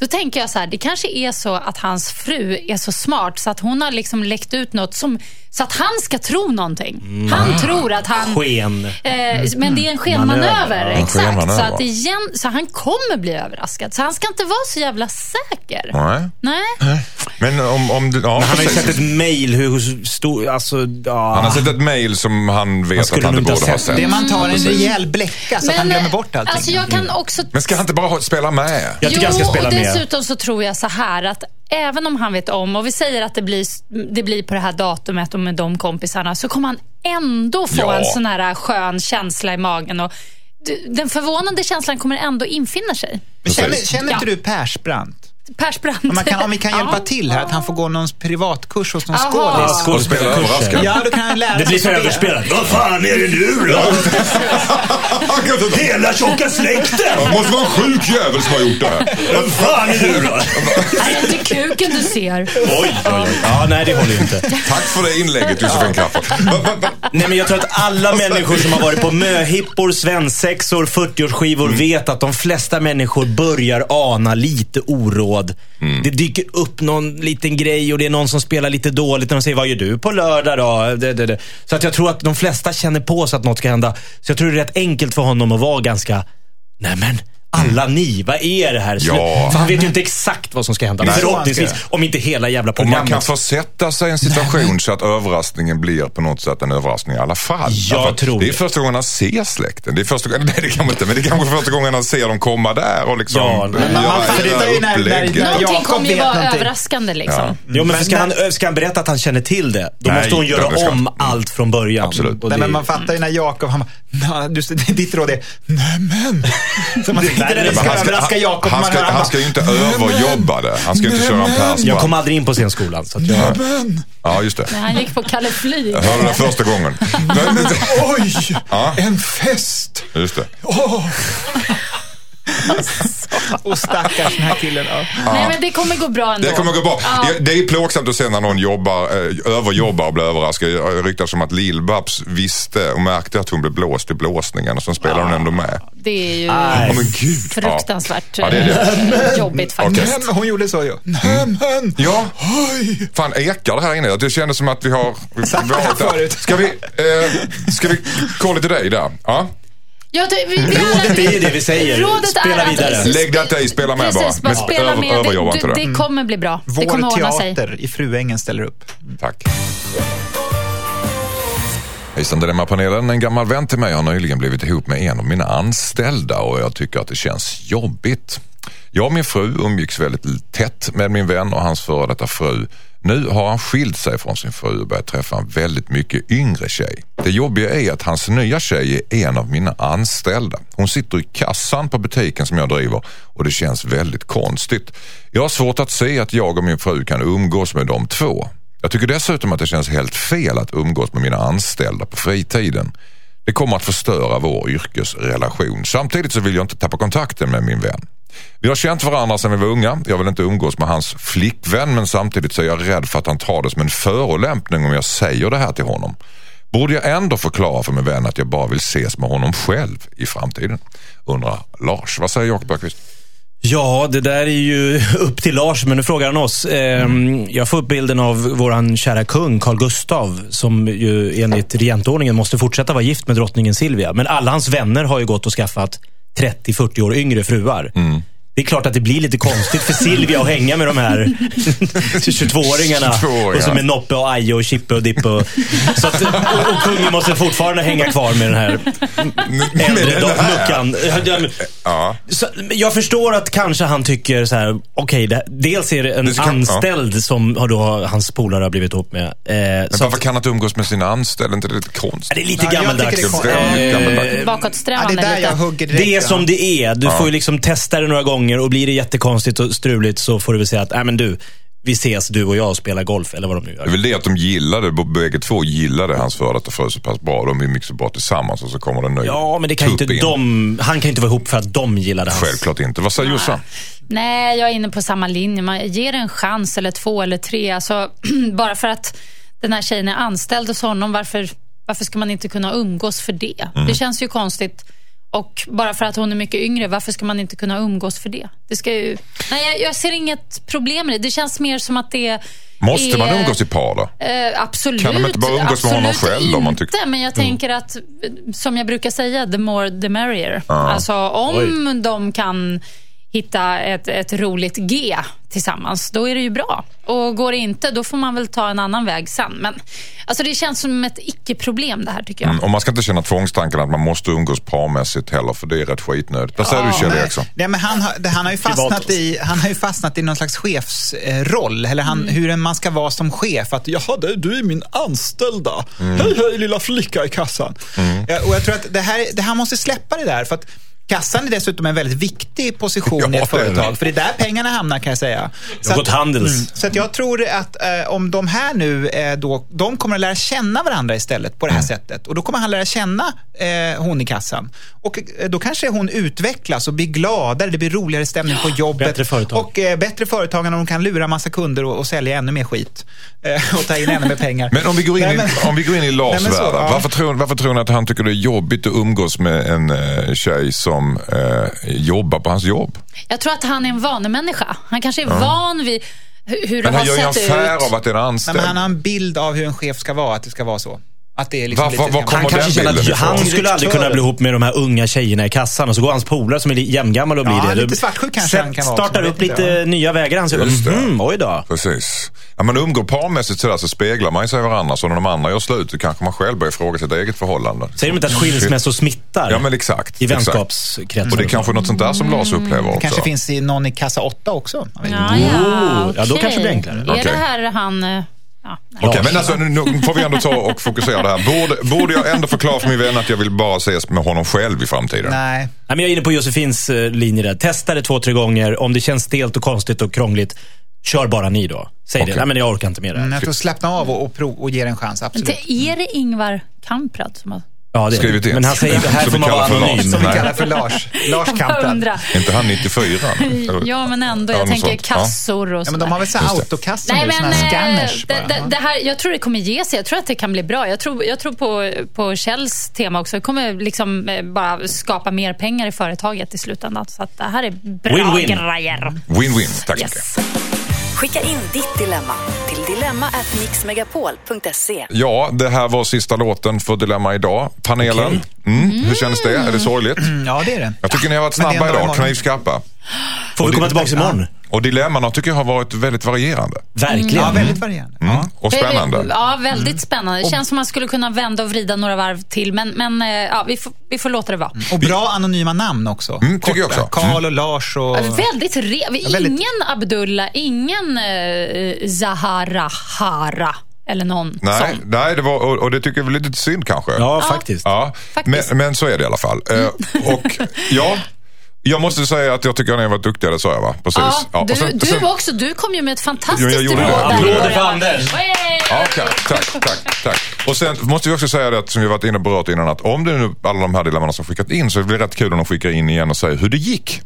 Då tänker jag så här, det kanske är så att hans fru är så smart så att hon har liksom läckt ut något som, så att han ska tro någonting. Han tror att han... Sken. Eh, men det är en skenmanöver. Manöver. En Exakt. skenmanöver. Så, att igen, så han kommer bli överraskad. Så han ska inte vara så jävla säker. Nej. Nej. Men om... om du- ja, Han har ju precis. sett ett mejl hur stor... Alltså, ja. han har sett ett mejl som han Han vet skulle att han nog inte inte borde ha ha sett sett. Det är man tar en rejäl bläcka så att han glömmer bort allting. Mm. Mm. Alltså jag kan också... Men ska han inte bara ha- spela med? Jag tycker han ska spela och med. dessutom så tror jag så här att även om han vet om och vi säger att det blir, det blir på det här datumet och med de kompisarna så kommer han ändå få Ja. en sån här eh, skön känsla i magen. Och d- den förvånande känslan kommer ändå infinna sig. Men känner, Precis. känner inte Ja. du Persbrandt? Persbrandt. Men man kan, om vi kan Ja. hjälpa till här, att han får gå någon privatkurs hos någon Aha. skådis. Och spela överraskad. Ja, då kan han lära Det blir så sig överspelat. Vad fan är det nu då? Hela tjocka släkten! Det måste vara en sjuk jävel som har gjort det här. Vad fan är du då? Nej, det är inte kuken du ser. Oj, oj, oj. Ja, nej, det håller ju inte. Tack för det inlägget Josefin Crafoord. Va- va- va- Nej men jag tror att alla Alltså- människor som har varit på möhippor, svensexor, 40-årsskivor Mm. vet att de flesta människor börjar ana lite oråd. Mm. Det dyker upp någon liten grej och det är någon som spelar lite dåligt och de säger vad gör du på lördag då? Det, det, det. Så att jag tror att de flesta känner på sig att något ska hända. Så jag tror det är rätt enkelt för honom att vara ganska, nej men alla ni, vad är det här? Mm. Ja. För han vet ju inte exakt vad som ska hända. Nej. Förhoppningsvis, om inte hela jävla Och man programmet. kan försätta sig i en situation så att överraskningen blir på något sätt en överraskning i alla fall. Jag Därför att tror det. är det. första gången han ser släkten. Det är första gången, nej det kan man inte, men det är kanske första gången han ser dem komma där och liksom Ja, men göra man- man fattar hela ju när- när- upplägget. när- Någonting Jakob kommer ju vet vara någonting. överraskande liksom. Jo, men Men ska, när- han, ska han berätta att han känner till det, då Nej, måste hon det göra är klart. om Mm. allt från början. Absolut. Och Nej, det- men man fattar ju när Jakob, han bara, "Nå, du, ditt råd är, nej men. Så man Det är sitter värre. där och Men ska han ska, överraska han, Jakob. han, man ska, hör bara, han ska ju inte överjobba det. Han ska ju inte köra en pers jag kom aldrig in på scenskolan. Så att jag... Ja, just det. Han gick på Kalle Flyg. Jag hörde det första gången. Nej, men- Oj, Ja. en fest! Just det. Och stackars den här killen. Ja. Nej, men det kommer gå bra ändå. Det kommer gå bra. Ja. Det är plågsamt att se när någon jobbar, eh, överjobbar och blir överraskad. Det ryktas som att Lill-Babs visste och märkte att hon blev blåst i blåsningen och sen spelar hon ändå med. Det är ju Ah. Ja, men gud. fruktansvärt Ja. Ja, det är eh, jobbigt faktiskt. Okej. Nej, men hon gjorde så ju. Mm. Nej men, Ja, oj! fan ekar det här inne. Det kändes som att vi har... Vi Sagt det här varit där. förut. Ska vi, eh, ska vi kolla till dig där? Ja. Ja, det, vi, vi Rådet är ju det vi säger. Rådet Spela är att- vidare. Lägg dig att dig, spela med bara. Precis, bara Men spela över- med. överjobba inte det, det. det, det kommer bli bra. det kommer Vår ordna sig. teater i Fruängen ställer upp. Tack. Hejsan Dilemmapanelen. En gammal vän till mig har nyligen blivit ihop med en av mina anställda och jag tycker att det känns jobbigt. Jag och min fru umgicks väldigt tätt med min vän och hans före detta fru. Nu har han skilt sig från sin fru och börjat träffa en väldigt mycket yngre tjej. Det jobbiga är att hans nya tjej är en av mina anställda. Hon sitter i kassan på butiken som jag driver och det känns väldigt konstigt. Jag har svårt att se att jag och min fru kan umgås med de två. Jag tycker dessutom att det känns helt fel att umgås med mina anställda på fritiden. Det kommer att förstöra vår yrkesrelation. Samtidigt så vill jag inte tappa kontakten med min vän. Vi har känt varandra sedan vi var unga. Jag vill inte umgås med hans flickvän men samtidigt så är jag rädd för att han tar det som en förolämpning om jag säger det här till honom. Borde jag ändå förklara för min vän att jag bara vill ses med honom själv i framtiden? Undrar Lars. Vad säger Jakob Bergqvist? Ja, det där är ju upp till Lars, men nu frågar han oss. Ehm, Jag får upp bilden av våran kära kung, Carl Gustav, som ju enligt regentordningen måste fortsätta vara gift med drottningen Silvia. Men alla hans vänner har ju gått och skaffat 30-40 år yngre fruar. Mm. Det är klart att det blir lite konstigt för Silvia att hänga med de här 22-åringarna. 22-åringarna. Och som är Noppe och Aje och Chippe och Dippe. Och, så att, och, och kungen måste fortfarande hänga kvar med den här äldre den här. muckan. Ja, men- Ja. så, men jag förstår att kanske han tycker så här, okej, det- dels är det en Det ska- anställd som har då, hans polare har blivit ihop med. Eh, så att, Varför kan han inte umgås med sina anställda? Är inte det lite konstigt? det är lite Ja, jag tycker det är gammaldags. Eh, konstigt. Väldigt gammaldags. Eh, Ja, det är Bakåtsträvande där jag lite. hugger direkt. Det är ja. som det är. Du får ju liksom testa det några gånger och blir det jättekonstigt och struligt så får du väl säga att, nej men du, vi ses du och jag och spelar golf eller vad de nu Det är gör. väl det att de gillade, b- bägge två gillade hans före detta fru så pass bra. De är mycket så bra tillsammans och så kommer det en ny Ja, men det kan ju tupp inte in. de, han kan ju inte vara ihop för att de gillade hans. Självklart inte. Vad säger Jossan? Nej, jag är inne på samma linje. Man ger en chans eller två eller tre. Alltså, bara för att den här tjejen är anställd hos honom, varför, varför ska man inte kunna umgås för det? Mm. Det känns ju konstigt. Och bara för att hon är mycket yngre, varför ska man inte kunna umgås för det? det ska ju... Nej, jag, jag ser inget problem i det. Det känns mer som att det Måste är... man umgås i par då? Eh, absolut. Kan de inte bara umgås med honom absolut själv om man inte, tycker- Mm. men jag tänker att, eh, som jag brukar säga, the more the merrier. Ah. Alltså om de kan hitta ett, ett roligt G tillsammans, då är det ju bra. Och går det inte, då får man väl ta en annan väg sen. Men alltså, det känns som ett icke-problem det här tycker jag. Mm, Och man ska inte känna tvångstanken att man måste umgås parmässigt heller för det är rätt skitnödigt. Vad säger du Kjell Nej, Eriksson? nej, men han, har- det- han, har ju fastnat i, han har ju fastnat i någon slags chefsroll, eller han, Mm. hur en- man ska vara som chef. Att, Jaha, det- du är min anställda. Hej, hej, lilla flicka i kassan. Eh, Och jag tror att det här, det, han måste släppa det där. För att Kassan är dessutom en väldigt viktig position Ja, i det är ett det. företag, för det är där pengarna hamnar kan jag säga. Så Något att- Mm. Handels. så att jag tror att eh, om de här nu, eh, då, de kommer att lära känna varandra istället på det Mm. här sättet. Och då kommer han lära känna eh, hon i kassan. Och eh, då kanske hon utvecklas och blir gladare, det blir roligare stämning på jobbet. bättre företag. Och eh, bättre företag när de kan lura massa kunder och, och sälja ännu mer skit. Eh, och ta in ännu mer pengar. Men om vi går in, Nej, men- i, om vi går in i Lars Nej, men så, värld. ja. Varför, tror, varför tror ni att han tycker det är jobbigt att umgås med en eh, tjej som eh, jobbar på hans jobb? Jag tror att han är en vanemänniska. Han kanske är van vid hu- hur det Ah. Men har han gör ju sett affär ut. av att det är en Nej, anställd. men han har en bild av hur en chef ska vara, att det ska vara så. Att det är liksom Var- var- lite... var kommer Han Och kanske den känner bilden att ifrån? han skulle aldrig kunna bli ihop med de här unga tjejerna i kassan och så går hans polare som är li- jämngammal och blir Ja, det. lite Du svartsjuk kanske sätt- han kan vara Startar också, upp men det- lite ja. nya vägar. Han Just säger, det. mm, oj då. Precis. Ja, man umgår parmässigt sådär så speglar man ju sig varandra. Så när de andra gör slut så kanske man själv börjar fråga sitt eget förhållande. Säger de inte att skilsmässor smittar? Ja men exakt. I exakt. vänskapskretsar. Och det är kanske något sånt där som Lars upplever också. kanske finns i någon i kassa 8 också. Man vet inte. Ja, ja, Oh, ja, då okej. kanske det blir enklare. Är Okej. det här han... eh, Ja. nej. Okej, men alltså, nu, nu får vi ändå ta och fokusera det här. Borde, borde jag ändå förklara för min vän att jag vill bara ses med honom själv i framtiden? Nej. Nej, men jag är inne på Josefins eh, linje där. Testa det två, tre gånger. Om det känns stelt och konstigt och krångligt, kör bara ni då. Säg Okej. det. Nej, men jag orkar inte med det. här. Men jag tror slappna av och, och, prov, och ge det en chans, Men absolut. det är det Ingvar Kamprad som har... Ja, det är Skrivit det. in. Men han säger inte, här Som vi får man vara kallar för anonym. LAS. Som vi Nej. kallar för Lars. Lars Jag bara Kamprad. undrar. Är inte han 94? Eller- Ja, men ändå. Ja, Jag något tänker sånt. Ja. kassor och Ja, sådär. men de har väl så här Just det. autokassar Nej, nu, såna men här eh, scanners det, det, bara. det här, jag tror det kommer ge sig. Jag tror att det kan bli bra. Jag tror, jag tror på, på Kjells tema också. Det kommer liksom eh, bara skapa mer pengar i företaget i slutändan. Så att det här är bra Win-win. grejer. Win-win, tack så mycket. Yes. Skicka in ditt dilemma till dilemma@mixmegapol.se. Ja, det här var sista låten för Dilemma idag. Panelen, mm, hur kändes det? Är det sorgligt? Mm, Ja, det är det. Jag tycker ni har varit Men det är en snabba dag idag, imorgon. knivskarpa. Får vi komma tillbaka imorgon? Och dilemmana tycker jag har varit väldigt varierande. Mm. Verkligen. Mm. Ja, väldigt varierande. Ja. Och spännande. Mm. Ja, väldigt spännande. Det känns som man skulle kunna vända och vrida några varv till. Men, men eh, ja, vi, får, vi får låta det vara. Och bra anonyma namn också. Mm, tycker jag Korta. också. Karl och Lars och... Ja, Väldigt re- väldigt- Ingen Abdullah, ingen eh, Zahara Hara eller någon Nej, sån. nej det var, och, och det tycker jag är lite synd kanske. Ja, faktiskt. Ja, men, Faktiskt. men så är det i alla fall. Eh, och ja, jag måste säga att jag tycker att ni har varit duktiga, det sa jag va? Precis. Ja, Ja, och du, sen- du sen- också. Du kom ju med ett fantastiskt Jo, jag gjorde råd. det. där i Applåder början. för Anders. Hey! Ja, Okej, tack, tack, tack. Och sen måste vi också säga det att, som vi varit inne och berört innan att om det nu alla de här dilemman som skickat in så blir det rätt kul om de skickar in igen och säger hur det gick.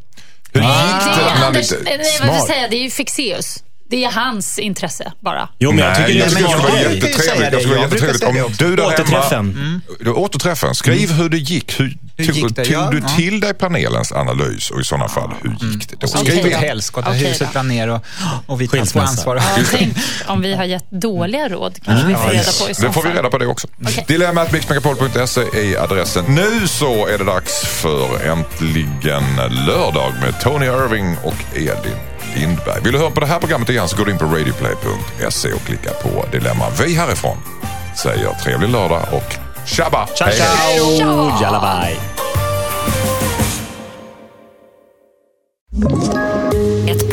Hur Det gick är det? när Anders, ni- nej, vad vill jag Smart. säga, det är ju Fixeus. Det är hans intresse bara. Jo, men jag Nej, tycker det är jag tycker det smart skulle vara jag grej. brukar ju jättetrevligt. Jag säga det. skulle vara Jag brukar jättetrevligt säga om du där Återträffen. hemma... Du, Återträffen. Skriv hur det gick. Hur, Hur gick tog, det? tog Ja, du ja. till dig panelens analys och i sådana fall, hur gick det då? Och Skriv Skriv in. åt helskotta, Okej huset då. brann ner och, och vi tar på Skilsmässa. ansvar. Ja, tänk om vi har gett dåliga råd. kanske vi får reda på i så Mm. Det får vi fall. reda på det också. Mm. Okej. Dilemmat mixmegapol.se är adressen. Nu så är det dags för Äntligen lördag med Tony Irving och Edin Lindberg. Vill du höra på det här programmet igen så går du in på radioplay.se och klicka på Dilemma. Vi härifrån säger trevlig lördag och tjabba! Ciao, ciao. Jalla, bye. Ett